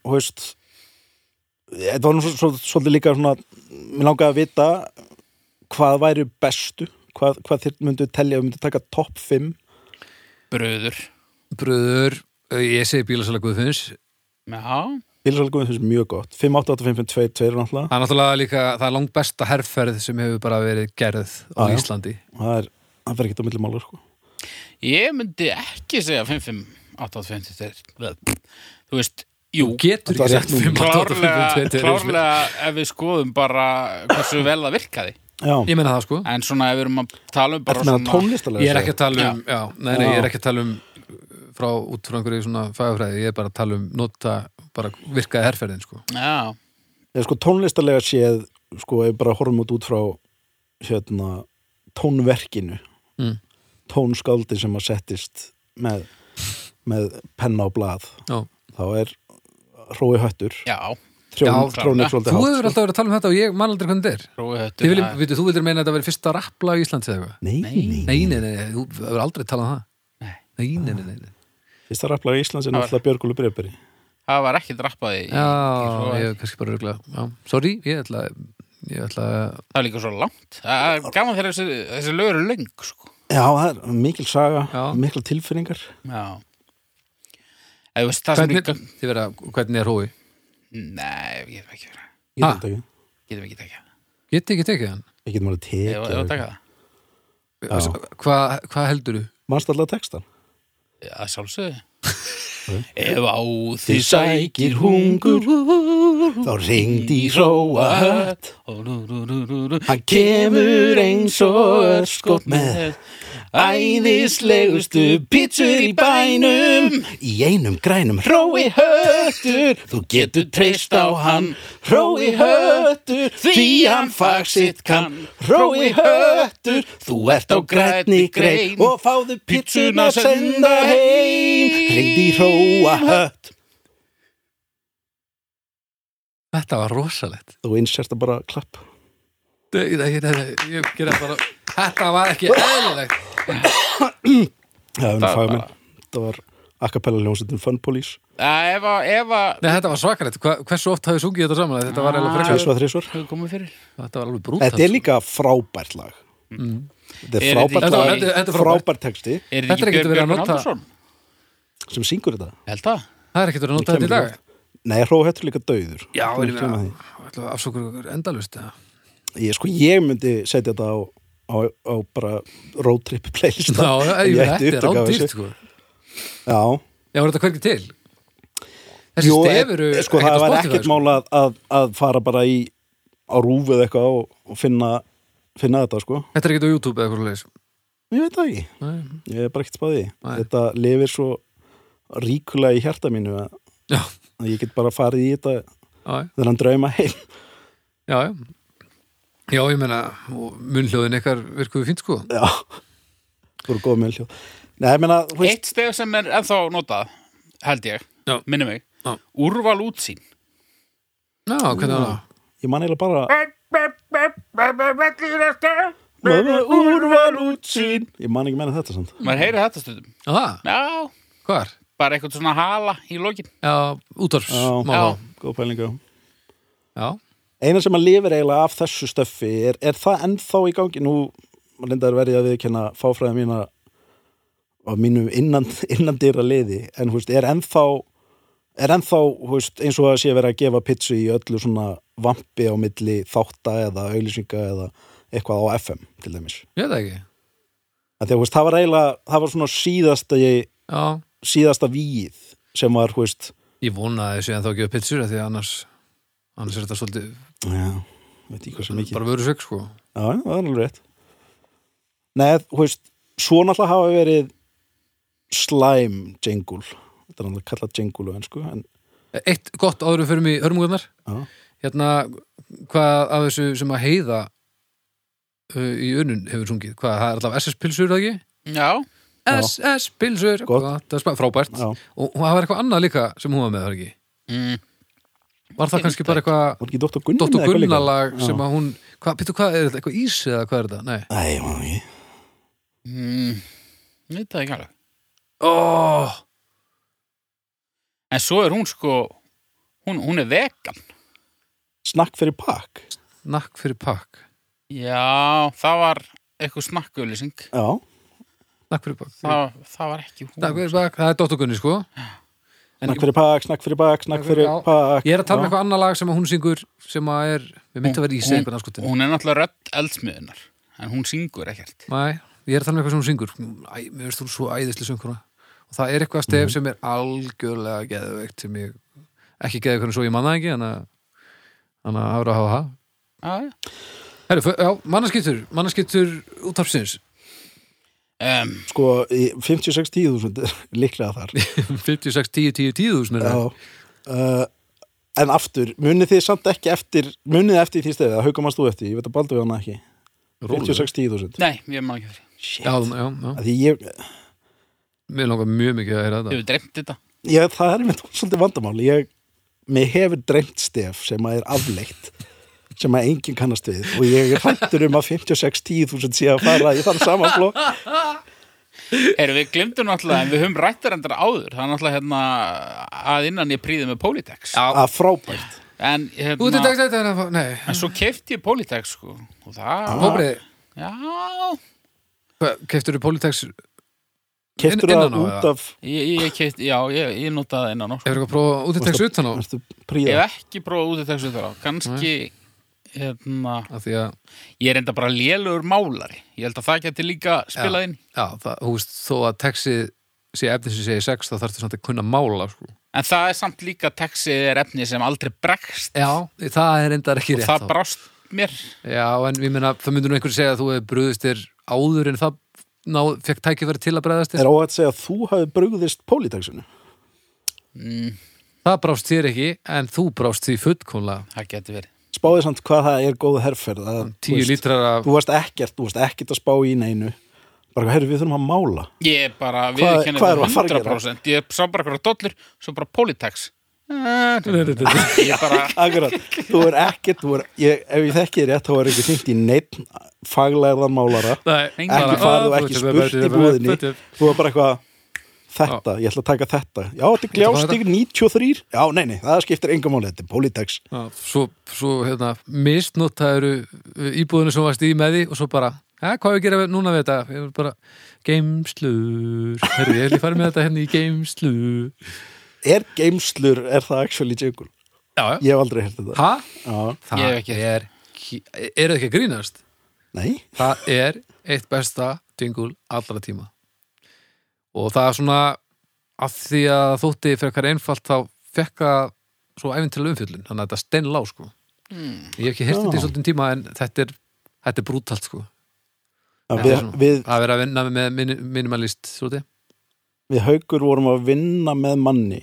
þú veist þetta var nú svo- svo- svolítið líka svona, mér langaði að vita hvað væri bestu hvað, hvað þér myndu telja, myndu taka topp 5 bröður Bröður, eh, ég segi bílasala Guðfinns Já, bílsalgum finnst mjög gott 5, 8, 8, 5, 5, 2, 2 er náttúrulega Það er náttúrulega líka, það er langt besta herrferð sem hefur bara verið gerð á Já, já. Íslandi það er, það fer ekki á milli mála sko. Ég myndi ekki segja 5-5 8-5 Þú veist, jú Getur Þetta var ekki rétt sett númer. 5, 8, 5, 2, 2 Klárlega ef við skoðum bara hversu vel það virkaði Já, Ég menna það sko En svona ef við erum að tala um bara þetta meina svona tónlistalega Ég er ekki að tala um, já, nei, nei, Já. ég er ekki að tala um frá út frá einhverju svona fagafræði, ég er bara að tala um nota, bara virkaði herferðin sko. Já, eða sko tónlistarlega séð sko ef við bara horfum út út frá hérna tónverkinu Mm. tónskáldi sem að settist með, með penna og blað Já. þá er hrói höttur já, trjón, Já, trjónir Þú hefur svolítið hátt sko. alltaf verið að tala um þetta og ég man aldrei hvernig þetta er hrói höttur Þið viljum, það- veitu, þú vildir meina að þetta verið fyrsta rapplag í Íslands eða eitthvað Nei, nei, Nei, nei, nei, nei, þú hefur aldrei talað um það Nei, nei, nei, nei, nei. fyrsta rapplag í Íslands er náttúrulega Björgúlu Brefberi Það var ekki drappaði í, Já, Hrói- ég hef kannski bara rugla Sorry, ég ætla ég ætla að Það var líka svo langt Það er gaman þegar þessi, þessi lög eru löng sko. Já, það er mikil saga, Já. mikil tilfinningar Já Eða þú veist það sem hvernig, líka þið vera, hvernig er hói? Nei, við getum ekki verið Ég Ha? veit ekki, Getum ekki tekið það. Geti ekki tekið hann? ég getum alveg Ef ef þú tekið taka það Hvað hva heldur þú? Manst alltaf textan? Já, að sjálfsögðu Ef á því sækir hungur Þá ringdi í hróa hött Hann kemur eins og örskot með Æðislegustu pítsur í bænum Í einum grænum Hrói höttur Þú getur treyst á hann Hrói höttur Því hann fag sitt kann Hrói höttur Þú ert á grænni grei Og fáðu pítsuna senda heim Hringdi í hróa hött Þetta var rosalegt Þú innsert að bara klapp Nei, nei, nei, nei, ég gera bara Þetta var ekki eðlilegt Já, það Það var var fagmenn. Þetta var akkapella hljómsveitin Fun Police. Að Ef að Ef að Nei, þetta var svakalegt, Hva, hversu oft hafið sungið þetta saman Þetta var, alveg frekar, Tvisvar, þrisvar. Hvað komið fyrir? þetta var alveg brútal Ah. Þetta er líka frábært lag. Þetta Er er frábært þetta lag, ekki- Þetta- Mm. þetta er frábært. frábært texti Er Þetta er þetta ekki ekkert Björn verið að Björn nota- Halldórsson? sem syngur þetta. Ég Held að Það er ekkert verið að nota Kemur þetta í dag ekki oft. Nei, Hróhettur er líka dauður. Já, ég Þú mátt gleyma því. vil afsókur ykkur endalust eða? Ég, sko, ég myndi setja þetta á, á, á bara roadtrip playlista. Já, já, Ég ég þetta ætti er upptaka af rándýrt þessu. sko. Já. Já, var þetta hvergi til? Þessi Jú, stef eru e- sko, ekkert á það var Spotify, ekkert sko. mála að, að, að fara bara í á rúfið eitthvað og, og finna, finna þetta, sko. Þetta er ekkert á YouTube eða eitthvað leis Ég veit það ekki. Ég hef bara ekkert spáði. Nei. Þetta lifir svo ríkulega í hjarta mínu að Já, að ég get bara farið í þetta já, já, þennan drauma heim. já Já, ég meina, og munnhljóðin ykkar virkuðu fínt sko Já, þú eru góð með hljóð. Nei, ég meina, þú veist, Eitt stef sem er ennþá notað Held ég Já. Minni mig Já. Úrval útsýn Já, hvernig var það? ég man eiginlega bara... Möðu úrval útsýn. Ég man ekki meina þetta samt. Maður heyri þetta stundum Já, það, Já hvar? Bara eitthvað svona hala í lokin Já, Já, útvarfsmál Já. góð pælinga. já, Eina sem að lifir eiginlega af þessu stöffi er, er það ennþá í gangi. Nú, lindar verið að viðkenna fáfræða mína á mínum innan, innan dýra liði. En, þú veist, er ennþá, er ennþá, þú veist, eins og að sé verið að gefa pitsu í öllu svona vampi á milli þátta eða auðlýsinga eða eitthvað á FM, til dæmis. ég veit það ekki að því að þú veist, það var eiginlega það var svona síðasta, ég, Já, síðasta víð sem var, þú veist ég vona að þessi en þá gefa pitsur af Því að annars, annars er þetta svolítið já, veit ekki hvað sem ekki já, bara vörusök sko já, það er alveg rétt Nei, þú veist, svo náttúrulega hafa verið slæm jengul þetta er náttúrulega kallað jengul og ennsku en, Eitt gott áður en við förum í hörmungarnar já, Hérna, hvað af þessu sem að heiða uh, í unun hefur sungið? Hvað, það er alltaf SS-pilsur, það ekki? Já Já. SS-pilsur, Gott. frábært. já, Og og það var eitthvað annað líka sem hún var með, það ekki? mm. Var það kannski bara eitthvað var ekki Dr. Gunni Dóttur með eitthvað líka? Gunnalag Já. sem að hún, hvað, býttu, hvað er þetta? Eitthvað ís eða hvað er þetta? Nei. Nei, ég man ekki Mm. Veit það ekki alveg Ó, En svo er hún sko Hún, hún er vegan Snakk fyrir pakk nakk fyrir pakk. Já, það var eitthvað snakkuðlýsing Já, Nakk fyrir pakk. það, það var ekki hún Nakk fyrir pakk, það er Dóttur Gunni, sko. En snakk fyrir pakk, snakk fyrir pakk, snakk fyrir Já. pakk ég er að tala um Já. eitthvað annað lag sem að hún syngur sem að er, við myndum að vera ís eða eitthvað hún, anskotin. hún er náttúrulega rödd eldsmiðunar En hún syngur ekkert Nei, ég er að tala um eitthvað sem hún syngur Æ, mér veist þú svo æðisli söngkona og það er eitthvað stef sem er algjörlega geðveikt sem ég ekki geði hvernig svo ég manna ekki þannig að- þannig að hafa að hafa það Já, já Herru, fö- já, mannaskiptur, mannaskiptur útarpsins um, Sko, í 56-10 þúsund líklega þar 56, 10, 10, 10 þúsund er Já, það uh, en aftur, munið þið samt ekki eftir munið þið eftir því stefið, það haukamast þú eftir ég veit að baldur við hana ekki Rólegur. 56.000 Nei, ég má ekki fyrir. Já, já, já. Af því ég, Mér langar mjög mikið að heyra Ég þetta. hef dreymt þetta. ég, það er mér svolítið vandamál ég, mér hefur dreymt stef sem að er afleitt sem að enginn kannast við og ég er hrættur um að 56.000 sé að fara í þann saman flokk Erum við glemdum náttúrulega, en við höfum rættar endara áður. Það er náttúrulega hérna að innan ég príði með Politex. að frábært En Út í dag hérna, þetta er að fá, nei, en svo kefti ég Politex sko. Og það, hópriði, já, keftur þú Politex, hefur keftur Inn- það innan á út eða? af ég, ég kefti, já, ég, ég notaði innan á. Sko. þú eitthvað prófað út í Politex utan á? ertu Ég príða hef ekki prófað út í þessu þar á. Kannski, hérna, Af því að, ég er enda bara lélugur málari. Ég held að það geti líka spilað inn. já, það, þú veist, þó að texið sé efni sem segir sex, þá þarftu samt að kunna mála, sko. En það er samt líka texið er efni sem aldrei bregst Já, það er endar ekki og rétt. það þá. brást mér. Já, en ég meina, það myndur nú einhver segja að þú hefur brugðist þér áður en það ná, fekk tækifæri til að bregðast þér. er óhætt að segja að þú hafi brugðist pólitaksinu Það brást þér ekki, en þú brást því fullkónlega. Það geti verið. spáði samt hvað það er góð herrferð að, Tíu þú veist, lítrar af, þú varst ekkert, þú varst ekkert að spá í neinu bara, herru, við þurfum að mála Ég bara Hvað- viðkennir hvað það erum við að fara að gera? 100% Ég sá bara eitthvað dollur, svo bara politex Ég bara Akkurat, þú er ekkert þú er, ég, ef ég þekki þér rétt, þá er ekki hringt í neitt faglærðan málara Nei, ekki bara, farið og "Ah, ekki þú spurt veist, í búðinni þú veist, þú var bara eitthvað þetta, ég ætla að taka þetta já, þetta er gljásteg 93 já, nei, nei, það skiptir enga máli, þetta er politex Já, svo, svo hérna, misnotaður íbúðinu sem varst í með því og svo bara, ja, hvað er að gera við- núna við þetta? Ég er bara, geimslur Herru, ég vil fara með þetta hérna í geimslur er geimslur, er það actually jingle Já, ég hef aldrei hert þetta Hæ? já, Það Ég hef ekki- er, ki- eru þið ekki að grínast? nei, Það er eitt besta dingul allra tíma og það er svona af því að þótti fyrir eitthvað einfalt þá fekk það svo æfintilega umfjöllun þannig að þetta er steinlá sko ég hef ekki heyrt þetta í Já. svolítið tíma en þetta er, þetta er brútalt sko að Þetta er við, svona- við, að vera að vinna með min- minimalist svolítið við haukur vorum að vinna með manni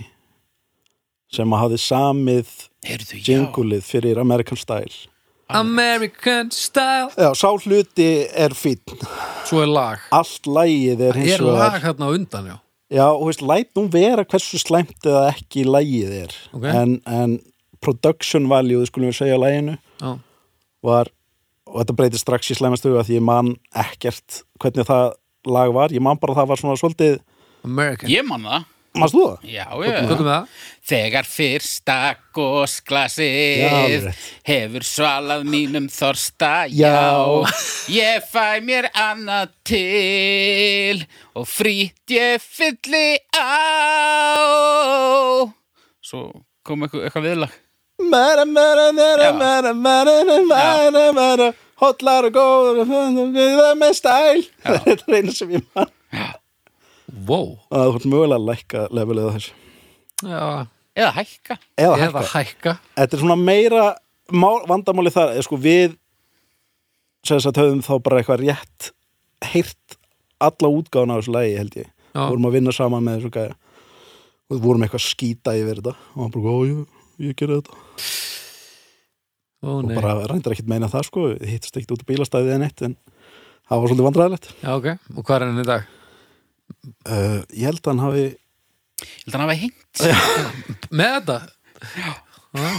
sem að hafi samið Heyrðu, já jingulið fyrir American Style American style Já, sá hluti er fínn svo er lag Allt lægið er hins er vegar lag hérna á undan já Já, og veist, læt nú vera hversu slæmt eða ekki lægið er Ok. en, en production value, skulum við segja læginu, Já. var og þetta breytir strax í slæmastu að því ég man ekkert hvernig það lag var, ég man bara að það var svona svolítið American Ég man það Manst þú það? Já, já Hvað er með það? Þegar fyrsta Já, gósklasið alveg rétt. hefur svalað mínum þorsta, já. Já. Ég fæ mér annað til og frýtt ég fylli á. Svo kom eitthvað, eitthvað viðlag. Mæra, mæra, mæra, Já. mæra, mæra, mæra, mæra Hotlar og góður og föndur við það með stæl Þetta er einu sem ég man Wow að þú ert mögulega að lækka levelið á þessu Já. Eða hækka. Eða eða hækka hækka Þetta er svona meira mál, vandamáli þar eða sko við sem þess að höfum þá bara eitthvað rétt heyrt alla útgáðan á þessu lagi held ég Já. vorum að vinna saman með þessu gæja og við vorum eitthvað að skýta yfir þetta og hann bara, ó, ég, ég gerði þetta Ó, og nei. bara reyndar ekkit meina það sko við hittist ekkit út á bílastæðið en eitt en það var svolítið vandræðilegt Já, ok. Og hvað er hann í dag? uh, ég held að hann hafi Ég held að hann hafi hengt. Með þetta? Já.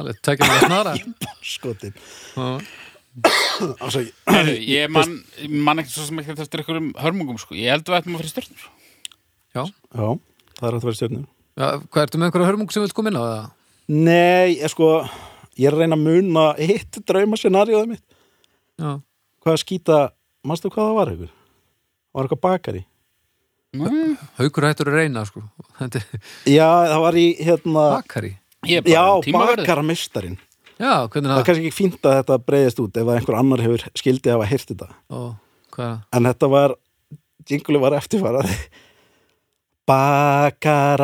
Alveg, tekja mig að snara. skotin Já. Ásaki, Heyrðu, Ég man, man ekki svo sem ekki eftir einhverjum hörmungum, sko. Ég held að við ættum að fyrir stjörnur. Já. já, það er hægt að vera stjörnum Já, Hvað ertu með einhverja hörmung sem vilt koma inn á það? nei, ég sko ég er að reyna að muna hitt draumascenaríuðið mitt Já. hvað að skýta, manstu hvað það var ykkur? Það var eitthvað bakari Haukur hættur að reyna, sko. Þetta er Já, það var í hérna bakari. Ég er bara um Já, tímaverður. bakarmistarinn Ah. Já, hvernig Það er það? kannski ekki fínt að þetta breyðist út ef að einhver annar hefur skildið hafa heyrt þetta Ó, hvað er það? en þetta var, jinguleg var eftirfarað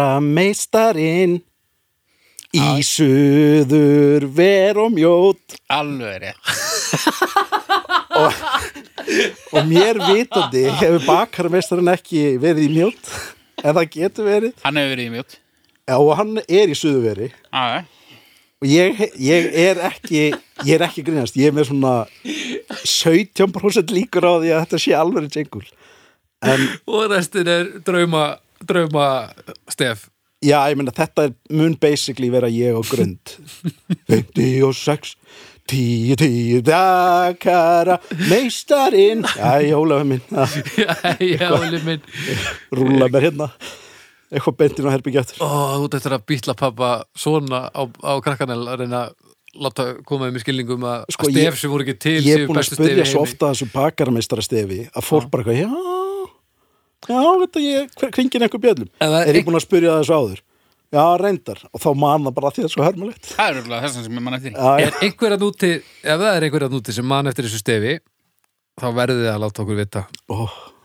Bakarameistarinn í Ah. suður ver og mjót Alveg rétt. og mér vitandi hefur bakarameistarinn ekki verið í mjót en það getur verið Hann hefur verið í mjótt. Já, og hann er í suðuveri já, og ég, ég er ekki ég er ekki að grínast, ég er með svona 17% líkur á því að þetta sé alveg djengul en og restin er drauma drauma stef já, ég meina þetta er, mun basically vera ég og grund 56 10, 10 dakara meistarinn, já, Ólafur minn að já, Óli minn rúla mér hérna eitthvað beintin á herbyggja aftur ó, út eftir að býtla pappa svona á, á krakkanel að reyna að láta koma um í skilningum að Sko, sko, stef ég- sem voru ekki til ég er séu búin að bestu stef í spyrja svo heimi. ofta að þessu bakarmeistara stefi að fólk bara eitthvað, já já, þetta ég, hver- kringin eitthvað bjöllum En það er er ég ein- búin að spyrja þessu áður já, reyndar, og þá man það bara af því að það er svo hörmulegt það er örugglega þessan sem ég mann eftir já, er einhverja núti ef það er einhverja núti sem man eftir þessu stefi þá verðið þið að láta okkur vita ó,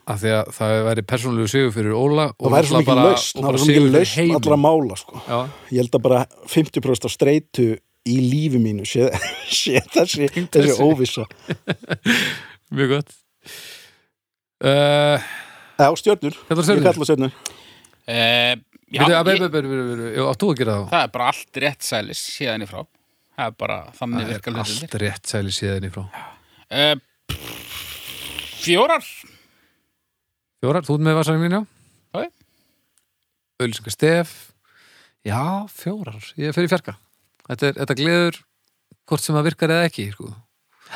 af því að það væri persónulegu sigur fyrir Óla og það væri svo náttúrulega mikið bara- og lausn það bara væri svo mikið sigur fyrir lausn heiminn. allra mála sko. já, ég held að bara 50% af streitu í lífi mínu sé, sé þessi, þessi þessu. óvissa mjög gott uh, já, stjörnur, Kallar ég stjörnur? kalla stjörnur Eh, já, Byrju, að, ég- byrju, byrju, byrju, byrju, átt þú að gera það? það er bara allt rétt sælis síðan í frá það er bara þannig Það virka er hlutinni allt rétt sæli síðan í frá uh, Fjórar Fjórar, þú ert með vasarinn mín, já? Já, já. Ölsingar stef Já, fjórar, ég fer í fjarka Þetta, er, þetta gleður hvort sem það virkar eða ekki sko.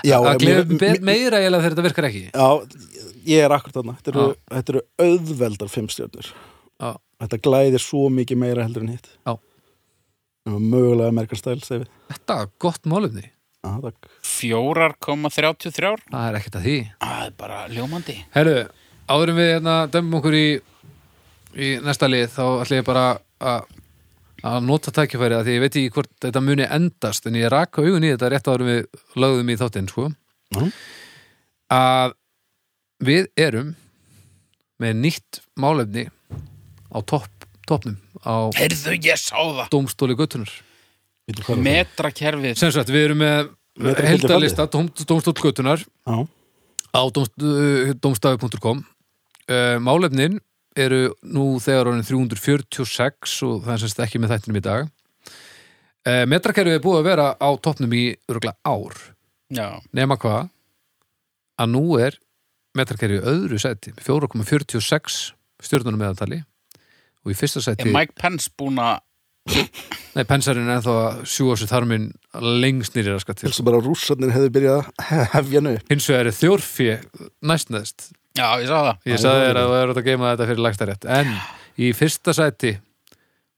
já, Það mér- gleður mér- me- meira eiginlega þegar þetta virkar ekki já, ég er akkur þarna þetta eru, þetta eru auðveldar fimm stjörnur Já, Þetta glæðir svo mikið meira heldur en hitt. Já. Nú, Mögulega Amerikan Style, segir við. Þetta er gott málumni, Já, takk. 4,33 það er ekkert að því Það er bara ljómandi Herru, áðurum við hérna dæmum okkur í, í næsta lið þá ætla ég bara að að nota tækifærið að því ég veit ekki hvort þetta muni endast en ég raka augun í þetta rétt áðurum við lögðum í þáttinn sko Mhm. að við erum með nýtt málefni á topp, toppnum á Heyrðu, ég sá það dómstóli göttunar Veitum hvað er Metrakerfið sem sagt við erum með Metra fylgir heldalista dóm, dómstól göttunar það? á eh, domstafi.com uh, Málefnin eru nú þegar orðin 346 og það er semst ekki með þættinum í dag uh, Metrakerfið er búið að vera á toppnum í örgulega ár Já, nema hvað að nú er metrakerfið í öðru sæti 4,46 stjórnunum meðantali og í fyrsta sæti er Mike Pence búin að nei, pensarinn er ennþá að sjúga sér þarminn lengst nýri raskat Hilsu bara að rússarnir hefðu byrjað að hefja nöðu. hins vegar er þjórfi næstnæðst Já, ég sá það Ég sagði þér að þú er að geima þetta fyrir lagstarétt En í fyrsta sæti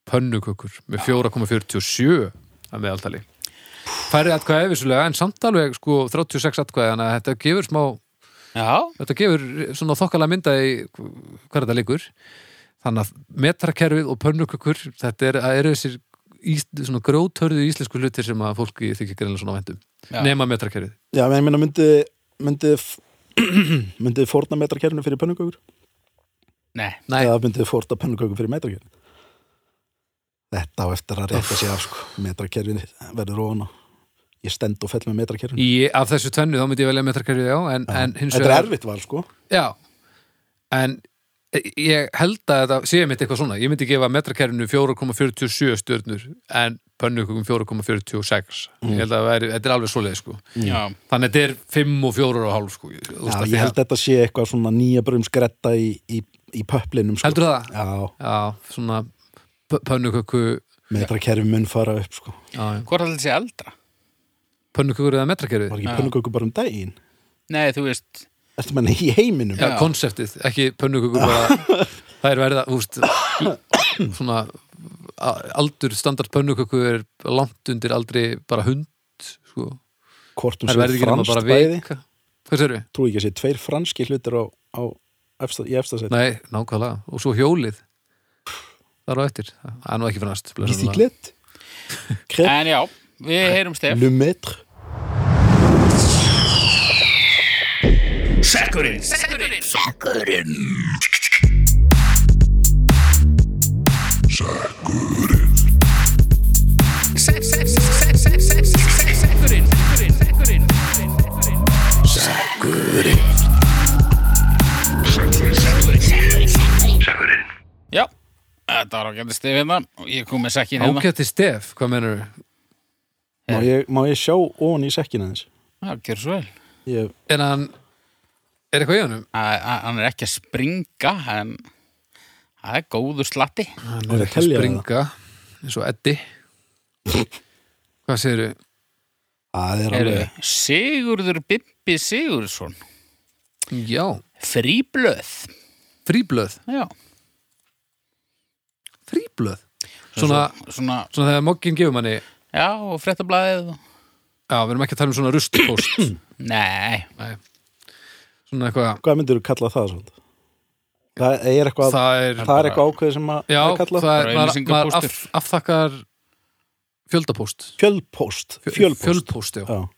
Pönnukökur með 4,47 að meðaltali Færri atkvæði vissulega en samt alveg sko 36 atkvæði Þannig að þetta gefur smá Já, Þetta gefur svona þokkala mynda í hvað þetta liggur Þannig að metrakerfið og pönnukökur Þetta er, það eru þessir ís, svona grótörðu íslensku hlutir sem að fólki þykir greinlega svona vendum Já. Nema metrakerfið Já, en ég meina, myndið myndi, myndi fórna metrakerfinu fyrir pönnukökur? nei Nei. Eða myndið fórna pönnukökur fyrir metrakerfinu? Þetta á eftir að rétta sig af, sko. Metrakerfinu verður ofan á. Ég stend og fell með metrakerfinu. Í, Af þessu tvennu þá myndi ég velja metrakerfið já En, en hins Þetta er erfitt val, sko. Já, en e, ég held að þetta sé mitt eitthvað svona ég myndi gefa metrakerfinu 4,47 stjörnur en pönnukökum 4,46 Mm. ég held að það væri, þetta er alveg svoleið sko Já, þannig að þetta er 5 og 4 og hálf sko Þú veist Já, að ég því held að- þetta sé eitthvað svona nýja brumskretta í, í, í pöplinum, sko. Heldurðu það? Já, Já, svona p- pönnuköku metrakerfi mun fara upp, sko. já, já. hvort allir sé eldra? pönnukökur eða Var metrakerfið ekki Já. pönnukökur bara um daginn? Nei, þú veist Ertu menna í heiminum? Já, Já. konseptið, ekki pönnukökur bara, það er verið að úst, svona a- aldur standard pönnuköku er langt undir aldrei bara hund sko Hvort um Það verður sér ekki nema franskt bara bæði? veika Hvað sér við? Trú ekki að sé tveir franski hlutir á, á efsta, í efstasætt. Nei, nákvæmlega, og svo hjólið þar á eftir, það er nú ekki fannast Bístiklet? Krepp? En já, við heyrum Eh. stef Le maître? Já, þetta var ágætti stef hérna og ég kom með sekkin hérna. Ágætti stef, hvað menur Má Eh. ég, má ég sjá ofan í sekkin aðeins? Já, gjör svo vel. Ég, Er hann, er eitthvað í honum? Æ, æ, Hann er ekki að springa, en það er góður slatti. Hann Er að er ekki að telja springa eins og Eddi Hvað segirðu? það er Heyrðu, alveg Sigurður Bibbi Sigurðsson. Já, Fríblöð. fríblöð Já. Fríblöð Svona, Svona, svona þegar mogginn gefur manni Já, já, og fréttablaðið. og- við erum ekki að tala um svona rustpost Nei, Nei Svona eitthvað Hvað myndir þú kalla það svona? Það er eitthvað, það, Það er, er eitthvað ákveð sem að já, að kalla það Bara er, maður, maður auglýsingapóstur. af, afþakkar fjöldapóst fjölpóst Fjö- fjölpóst, Fjölpóst, já Já.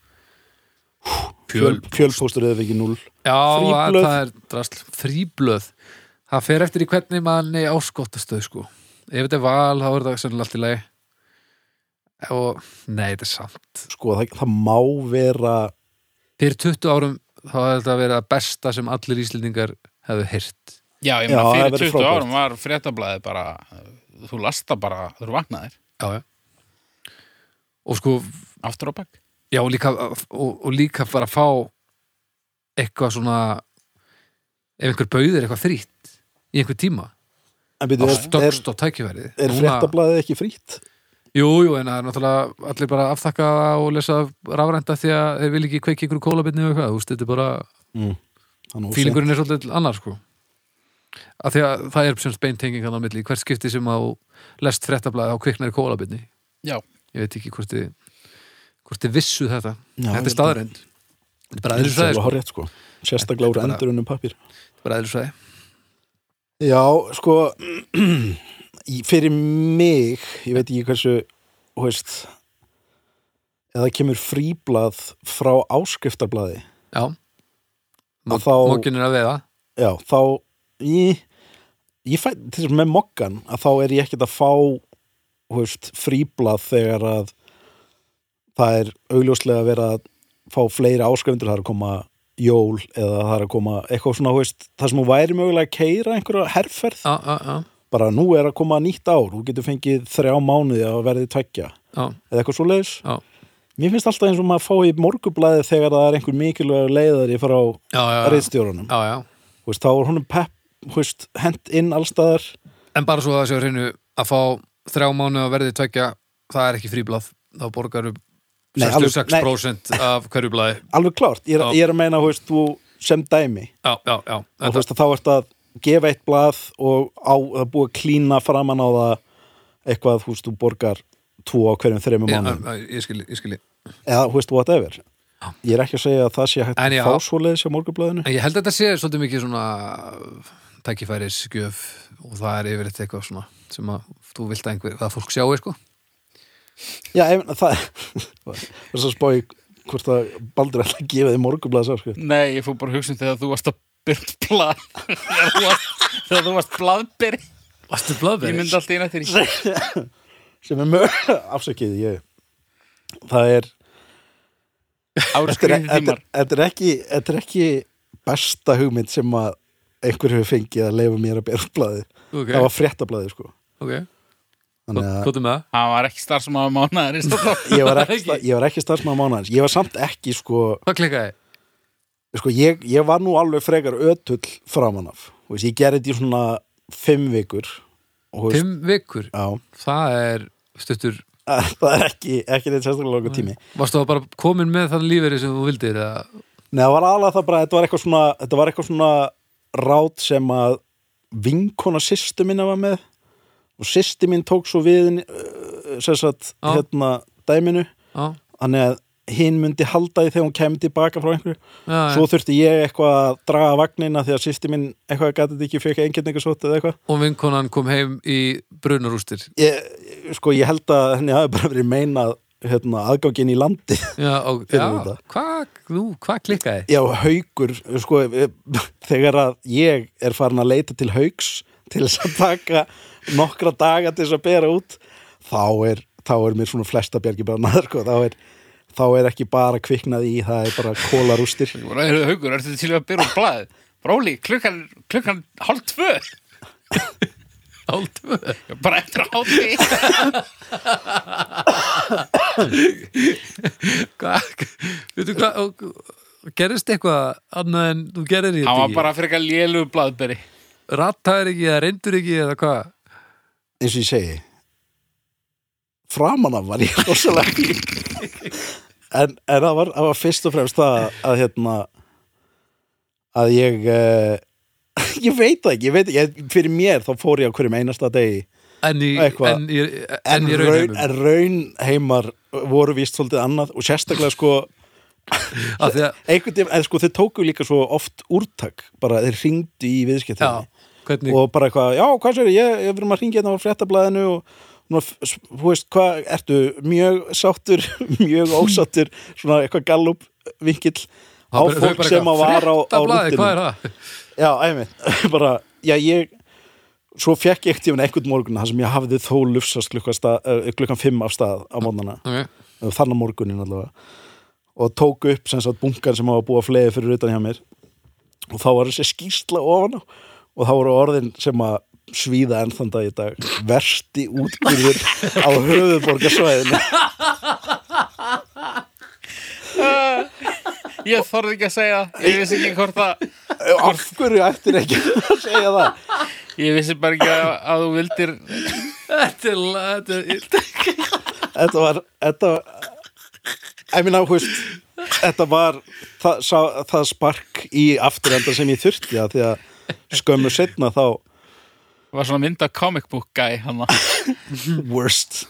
Fjöl, fjölpóstur eða ekki núl Já, Fríblöð. það er drasl Fríblöð Það fer eftir í hvernig manni áskottastöð sko. Ef þetta er val, þá er það sennilega allt í lagi og nei, þetta er samt sko það, það má vera Fyrir 20 árum þá hefði þetta að vera það besta sem allir Íslendingar hefðu heyrt já, ég Já, meina það fyrir verður 20 frábært. árum var fréttablaðið bara, uh, þú lasta bara, þú vaknaðir, Já, já Og sko, aftur á bakk. já, og líka og, og líka bara fá eitthvað svona ef einhver bauðir eitthvað frýtt í einhver tíma, en byrju, þá er, er, stökkst á tækifærið er fréttablaðið ekki frýtt? Jú, jú, en það er náttúrulega allir bara að afþakka og lesa rafrænda því að þeir vil ekki kveiki ykkur kólabitni og eitthvað, þú veist, þetta er bara Þannig að- fílingurinn er svolítið annar, sko að því að það er semst beintenging hann á milli, hvert skipti sem að þú lest fréttablaði á kviknar í kólabitni Já. ég veit ekki hvort þið hvort þið vissu þetta Já, ég þetta held er staðarind þetta er bara Það er eðlisfræði alveg sko. hárrétt, sko. sérstaklega Þetta úr er bara- endurunum pappir Þetta er bara eðlisfræði Já, sko í- fyrir mig ég veit ekki hversu þú veist, eða kemur fríblað frá áskriftarblaði já Að þá- mokkin er að veiða já, þá ég, ég fæ, til þess að með mokkan að þá er ég ekkert að fá þú veist, fríblað þegar að það er augljóslega að vera að fá fleiri áskrifundur það er að koma jól eða það er að koma eitthvað svona, þú veist, það sem hún væri mögulega að keira einhverja herferð já, já, já, bara nú er að koma nýtt ár þú getur fengið þrjá mánuði að verði tvekja já, eða eitthvað svo leiðis já, mér finnst alltaf eins og maður fá í morgublaði þegar það er einhver mikilvægur leiðari frá já, já, já, reyðstjórunum já, já. Þú veist, þá er honum pepp þú veist, hent inn allstaðar en bara svo að þessu hreinu að fá þrjá mánu að verði tvekja það er ekki fríblað, þá borgaru Nei, alveg- 66% af hverju blaði alveg klárt, ég er, Já. ég er að meina þú veist, þú sem dæmi já, já, já, og þú þetta, veist að þá ert að gefa eitt blað og á, það er búið að klína framan á það eitthvað, þú veist, þú borgar tvo á hverjum þreymum ég, mánum ég, ég skilji, ég skilji eða, þú veist, whatever ég er ekki að segja að það sé hægt En að já. fá svo leiðis á morgublaðinu En ég held að þetta sé svolítið mikið svona tækifæris gjöf og það er yfirleitt eitthvað svona sem að þú vilt að einhver, að fólk sjáu sko já, ef, það það er svo spáði hvort að Baldur ætla að gefa þið morgublaðsafskrift Nei, ég fór bara að hugsa um þegar þú varst að byrja blað. þegar þú varst, þegar þú varst blaðbyrj. Vastu Ég blaðberi? myndi allt eina til því. sem er mög, afsakið ég það er Ára þetta er, skriði þetta, tímar. er, þetta, er ekki, þetta er ekki besta hugmynd sem að einhver hefur fengið að leifa mér að bera upp blaði Ok, það var fréttablaði sko ok, þannig að kvotum með það Hann var ekki starfsum af mánuðarins. ég var ekki, sta- ég var ekki starfsmaður mánaðins ég var samt ekki sko, Hvað klikkaði? sko ég, ég var nú alveg frekar ötull framan af Þú veist, ég gerði þetta í svona fimm vikur og, þú veist, Fimm vikur, já, það er stuttur það er ekki, ekki neitt sérstaklega langur tími Varstu það bara komin með þann lífeyri sem þú vildir eða? Nei, það var alveg það bara, þetta var eitthvað svona, þetta var eitthvað svona rátt sem að vinkona sýstu minna var með og sýstu mín tók svo við henni, uh, sem sagt, Já. hérna, dæminu, Já, þannig að hinn myndi halda því þegar hún kemdi baka frá einhverju. já, já. Svo þurfti ég eitthvað að draga vagnina því að sýstu mín eitthvað gæti þetta ekki fekk einkenningasótt eða eitthvað. og vinkonan kom heim í brunarústir Ég, sko, ég held að henni hafi bara verið meinað hérna, aðgangin í landi Já, og, Fyrir já þetta. hvað hva klikkaði? Já, haugur, sko, þegar að ég er farin að leita til haugs til þess að taka nokkra daga til þess að bera út, þá er, þá er mér svona flesta bjargi bara naður, sko, þá er, þá er ekki bara kviknað í, það er bara kólarústir. Haukur, haukur ertu til í að byrja úr blaðið? Róli, klukkan, klukkan hálf tvö. Hálftöfu bara eftir að hátti Veitu hvað, og- gerðist eitthvað annað en þú gerðir í hann þetta var ekki? bara frekar lélugu blaðberi Rattaðir ekki eða reyndur ekki eða hvað? eins og ég segi framan af var ég rosalega en, en það, var, það var fyrst og fremst það að, að hérna að ég uh, ég veit það ekki, ég veit ég, fyrir mér þá fór ég á hverjum einasta degi En í, Eitthvað. en í, en, en í raun, raunheimum en raun heimar voru víst svolítið annað og sérstaklega sko af því að, einhvern veginn, en sko þeir tóku líka svo oft úrtak, bara þeir ringdu í já, viðskiptinni hvernig og bara eitthvað, já, hvað sér, ég, ég verðum að ringja hérna á fréttablaðinu og nú, þú veist, hvað, ertu mjög sáttur, mjög ósáttur svona eitthvað gallup vinkill Það bara- á þau fólk bara sem eitthvað, að var á, á fréttablaðið, rúttinu hvað er það? já, einmitt, bara, já, ég svo fekk ég ekkert einhvern morgun þar sem ég hafði þó lufsast klukkan, stað, eh, klukkan 5 af stað á mótnana Okay. þannig morgunin allavega og tók upp sem sagt bunkan sem hafa búið að fleði fyrir utan hjá mér og þá var þessi skýrsla ofan á og þá voru orðin sem að svíða enn þann dag í dag versti útgjörður á höfuðborgarsvæðinu ég þorði ekki að segja það ég vissi ekki hvort að af hverju ættir ekki að segja það ég vissi bara ekki að, að þú vildir Þetta er, la- þetta er illt. þetta var þetta, ég minna, hú veist þetta var það, sá, það spark í afturenda sem ég þurfti að því að skömmu setna þá var svona mynda comic book guy hann worst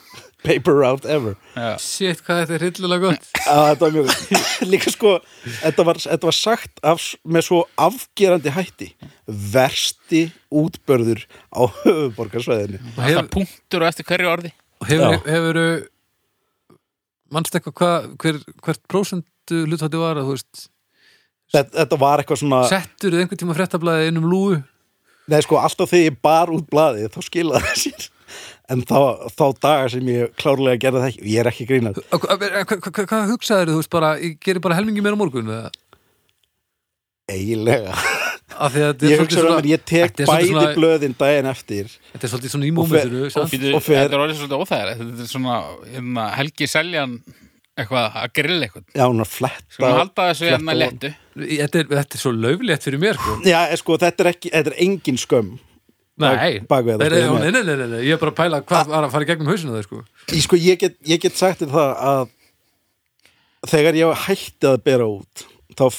paper route ever Shit, hvað þetta er hryllilega gott Já, þetta var mjög gott. Líka sko, þetta var, þetta var sagt af, með svo afgerandi hætti Versti útbörður á höfuborgarsvæðinu Og alltaf hef, punktur og eftir hverju orði hefur, Já. hefur mannst eitthvað hvað, hver, hvert prósentu hlutfætti var að þú veist, þetta, þetta var eitthvað svona settur þið einhvern tíma fréttablaðið inn um lúu Nei, sko, alltaf þegar ég bar út blaði þá skilaði það sér En þá, þá dagar sem ég klárlega gerði það ekki Ég er ekki grínað Hva- hva- hva- hva- Hvað hugsaðir þú veist bara, ég gerir bara helmingi meira á morgun eða? Eiginlega Af því að þetta er Ég svolítið hugsa um að ég tek þetta er bæði svolítið svona- blöðin daginn eftir Þetta er svolítið svona í fer- mómentinu og samt. Býtu, Og fer- þetta er orðið svolítið óþægir þetta er svona hérna, Helgi Seljan eitthvað að grilla eitthvað Já, hún er fletta Skulum halda þessu fletta hérna von. léttu Þetta er, þetta er svo löflétt fyrir mér sko. Já, eh, sko, þetta er, ekki, þetta er engin skömm Nei, Bak- bak við þetta, nei, nei, sko, nei, nei, nei, nei, nei, ég er bara að pæla hvað var að fara í gegnum hausinu þau sko Ég, sko, ég, get, ég get sagt þér það að þegar ég hætti að bera út þá,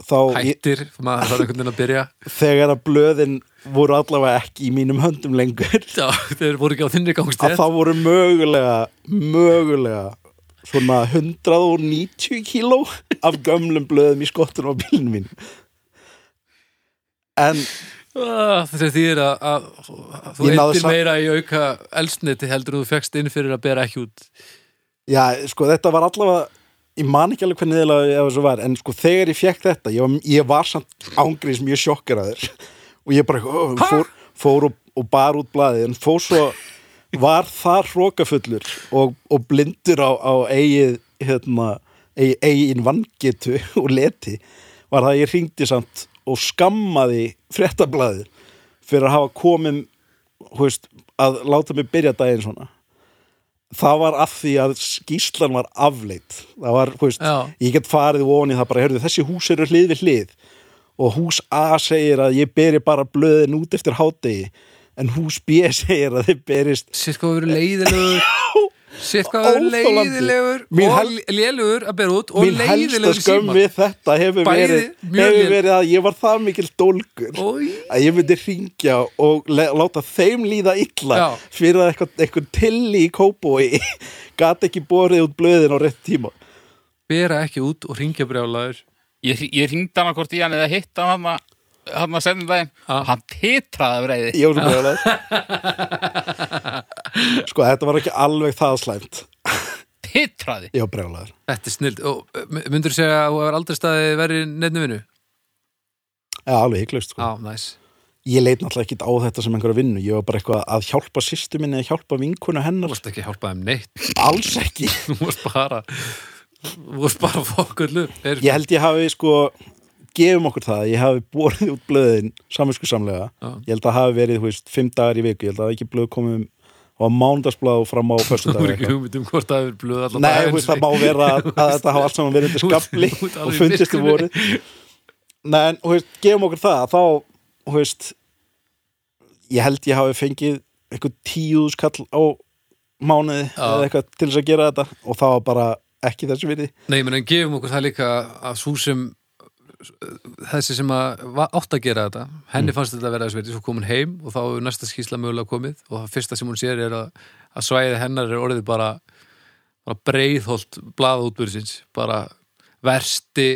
þá ég, Hættir, maður þarf einhvern veginn að byrja þegar að blöðin voru allavega ekki í mínum höndum lengur Já, þeir voru ekki á þinni að gangstétt þá voru mögulega mögulega svona 190 kíló af gömlum blöðum í skottunum á bílinn mín en Ah, Þegar því er að, að þú Ég náði eittir samt- meira í auka elsniti heldur en þú fekst inn fyrir að bera ekki út já, sko, þetta var allavega ég man ekki alveg hvernig eða ef þessu var en sko, þegar ég fekk þetta ég var, ég var samt ángriðis mjög sjokkaraður og ég bara ó, fór, fór og, og bar út blaðið en fór svo var það hrókafullur og, og blindur á, á eigið hérna, eigi, eigin vangetu og leti var það að ég hringdi samt og skammaði fréttablaðið fyrir að hafa komið þú veist, að láta mig byrja daginn svona það var af því að skýslan var afleitt það var, þú veist, Já. ég get farið ofan í það bara, heyrðu, þessi hús eru hlið við hlið og hús A segir að ég beri bara blöðin út eftir hádegi en hús B segir að þið berist Sitt hvað verið leiðilegur Sitt hvað verið Óþolandi. leiðilegur Mín og hel- lélugur að bera út og mín helsta leiðilegur í skömm síma við þetta hefur Bæði verið, mjög hefur léleg. verið að ég var það mikil dólgur Ói að ég myndi ringja og le- láta þeim líða illa Já. fyrir að eitthvað, eitthvað tilli í kópói gat ekki borið út blöðin á rétt tíma bera ekki út og ringja brjálaður ég, ég ringdi hann hvort í hann eða hitt hann hann að hann að senda daginn Ah. hann titraði af reyði ég var svo brjóðlega sko þetta var ekki alveg það slæmt titraði ég var brjóðlega Þetta er snild og myndur segja að þú hefur aldrei staði verið í neinni vinnu? Já, alveg hygglust sko. Á, næs Ég leit náttúrulega ekki á þetta sem einhverja vinnu Ég var bara eitthvað að hjálpa sýstu minni að hjálpa vinkuna Þú hennar varst ekki að hjálpa þeim neitt Alls ekki Þú varst bara Þú varst bara fokkullu Ég held ég hafi sko gefum okkur það að ég hafi borið út blöðin saminskusamlega Já. ég held að hafi verið, þú veist, fimm dagar í viku ég held að hafi ekki blöð komið um á mándagsblað og fram á Þú er föstudag ekki hugmynd um hvort það er blöð allan Nei, þú veist, það má vera að að þetta hafa allt saman verið undir Þú ert- skafli þú ert alveg og fundist í þið voru Nei, en, þú veist, gefum okkur það þá, þú veist ég held ég hafi fengið eitthvað tíuðskall á mánuði eða eitthvað til þess að gera þetta og það var bara ekki þessu virði Nei, menn en gefum okkur það líka að svo sem þessi sem að va- átti að gera þetta henni fannst þetta að vera þess verið, svo kom hún heim og þá hefur næsta skýsla mögulega komið og það fyrsta sem hún sér er að, að svæði hennar er orðið bara, bara breiðholt blaðútbörðsins, bara versti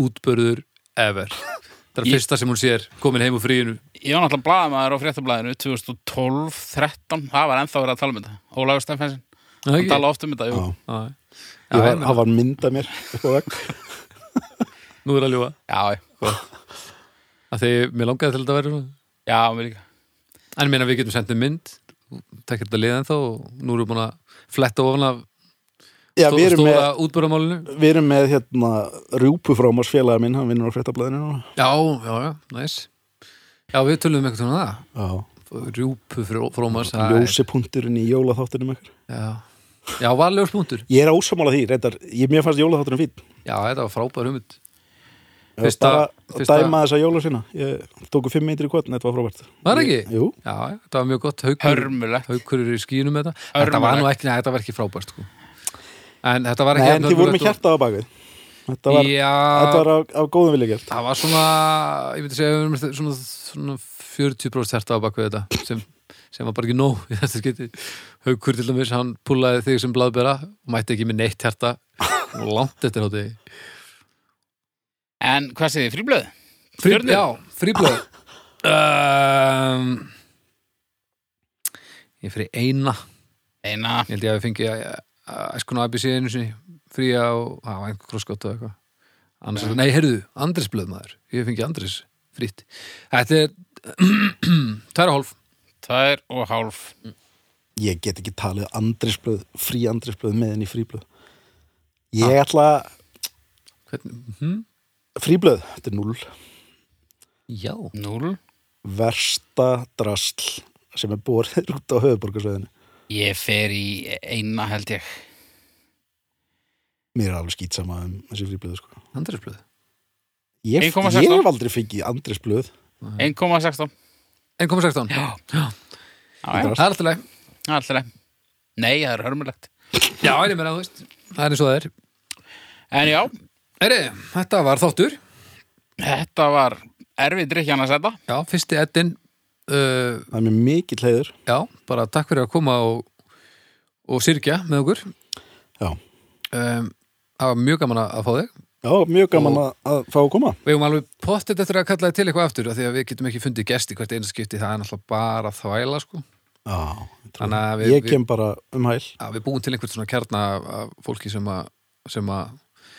útbörður ever það er Ég- fyrsta sem hún sér komin heim úr fríinu Ég var náttúrulega blaðamaður á fréttablaðinu 2012, 13, það var ennþá verið að tala um þetta Ólafur Stefensin, Það hann tala oft um þetta jú. Já. Nú Ég Já, var, ég meina. það var mynda mér upp á vegg. er að ljúfa Já, já, að því mér langaði til þetta að vera svona. já, mér líka En ég meina við getum sendið mynd Tekkir þetta liðan þá og nú erum við búin að fletta ofan af Já, stó við erum stóra með, með... útbörðamálinu við erum með hérna, rjúpu frá márs félaga minn, hann vinnur á fréttablaðinu núna. Já, já, já, næs Já, við tölum eitthvað svona það Já, Rjúpu fró- frómars það er- ljósipunkturinn í jólaþáttunum ekkert Já, já var ljóspunktur Ég er ósamála því, reyndar, ég, mér fannst jólaþáttunum fín Já, þetta var frábær humund Ég var Fyrsta- bara fyrsta- að dæma þessa jóla sína Ég tóku fimm meitri í kvotn, þetta var frábært Var það ekki? Ég- Jú, Já, þetta var mjög gott Haukur, Hörmulegt haukur er í skýnum með þetta Þetta var nú ekki, neða, þetta var ekki frábært sko. En þetta var Nei, ekki hérna en þið voru með hjarta á bakvið Þetta var, Já, þetta var á, á góðum vilja gert Það var svona, ég myndi segja, við erum svona, svona 40% hjarta á bakvið þetta sem, sem var bara ekki nóg í þetta skipti. Haukur til dæmis, hann púlaði þig sem blaðbera og mætti ekki með neitt hjarta og langt eftir á þig. En hvað segir þið, fríblöð? Frí, Stjörnur? já, fríblöð. um, ég fyrir eina, Eina, ég held ég að við fengi að, að eh, æskuna ABC einu sinni, fría og, það var einhver krosskott og eitthvað. Annars, nei, heyrðu, Andris blöð maður, ég fengi Andris frýtt. Þetta er tæra hálf. tvær og hálf Ég get ekki talið andrisblöð, frí andrisblöð með henni fríblöð Ég ætla, Hvernig? Ah. Hm? fríblöð, þetta er null Já. Núl Versta drasl sem er borið út á höfuborgarsveðinu Ég fer í eina held ég Mér er alveg skýt sama um þessi fríblöð sko. Andrisblöð. Ég, ég 1,16. hef aldrei fengið andrisblöð 1,16 1,16. Já. Já, já, Það er alltaf leið. alltaf leið. Nei, það er hörmulegt Já, en ég meina, þú veist. Það er eins og það er. En já, Eri, þetta var þáttur. þetta var erfið drikkjan að setja Já, fyrsti eddin. Uh, Það er mér mikill heiður já, bara takk fyrir að koma og, og syrkja með okkur. Já, Um, það var mjög gaman að að fá þig. Já mjög gaman að, að fá að koma Við hefum alveg pottið eftir að kalla þig til eitthvað aftur af því að við getum ekki fundið gesti hvert einu skipti. Það er náttúrulega bara þvæla, sko. Já, ég trúi Þannig að því. við- ég við- kem bara um hæl að við búum til einhvern svona kjarna af- af fólki sem að, sem að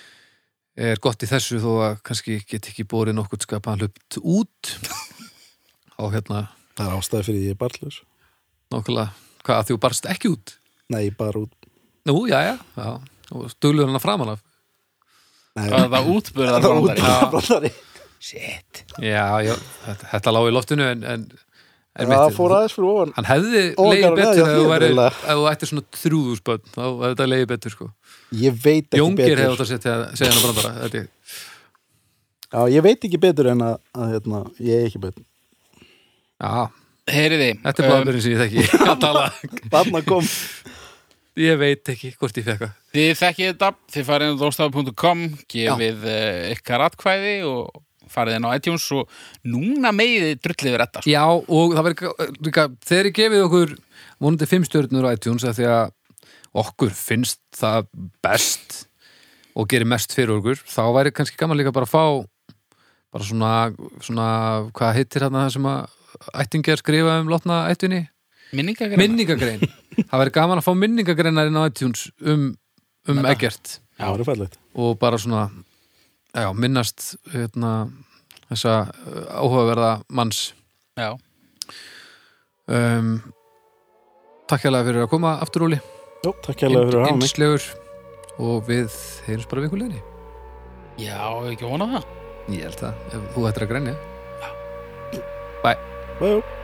er gott í þessu þó að kannski get ekki borið nokkurt skapaðan hlupt út á hérna Það er ástæði fyrir því ég er barnlaus nákvæmlega hvað að þú barst ekki út Nei, ég er bara út Nú, já, já, já og stugluður hana framan af Nei, Það var það útbyrðar það út bara brandari Shit Já, já, þetta, þetta lá í loftinu en, en, en Það mitt- fór aðeins fyrir ofan Hann hefði Ó, leið Garðar, betur já, ef þú ég væri- eiginlega. ef þú ættir svona þrjúðúsbönn þá hefði þetta leið betur sko Ég veit ekki Jóngir hefði átt betur að setja, segja hana brandara þetta er Já, ég veit ekki betur en að, að hérna, ég er ekki betur Já, Um. Heyriði þetta er um, blaðbyrðin sem ég þekki að tala Þarna kom Ég veit ekki hvort ég fekk að Þið þekkið þetta, þið farið inn á dóstafu.com gefið uh, ykkar atkvæði og farið inn á iTunes og núna megiði drullið við þetta sko. Já, og það verður líka þegar ég gefið okkur vonandi fimm stjörnur á iTunes af því að okkur finnst það best og gerir mest fyrir okkur þá væri kannski gaman líka bara að fá bara svona, svona hvað heitir þarna það sem að ættingi að skrifa um lotna ættinni? Minningagreina Minningagrein Það væri gaman að fá minningagreinarinn á iTunes um, um ekkert Já, það er fællegt og bara svona já, minnast hérna, þessa uh, áhugaverða manns Já, um, Takk hérlega fyrir að koma aftur Óli Jó, takk hérlega fyrir að hafa mig Innslegur og við heyrums bara vikuleginni já, hef ekki vonað það Ég held það, ef þú ættir að grenja Bæ.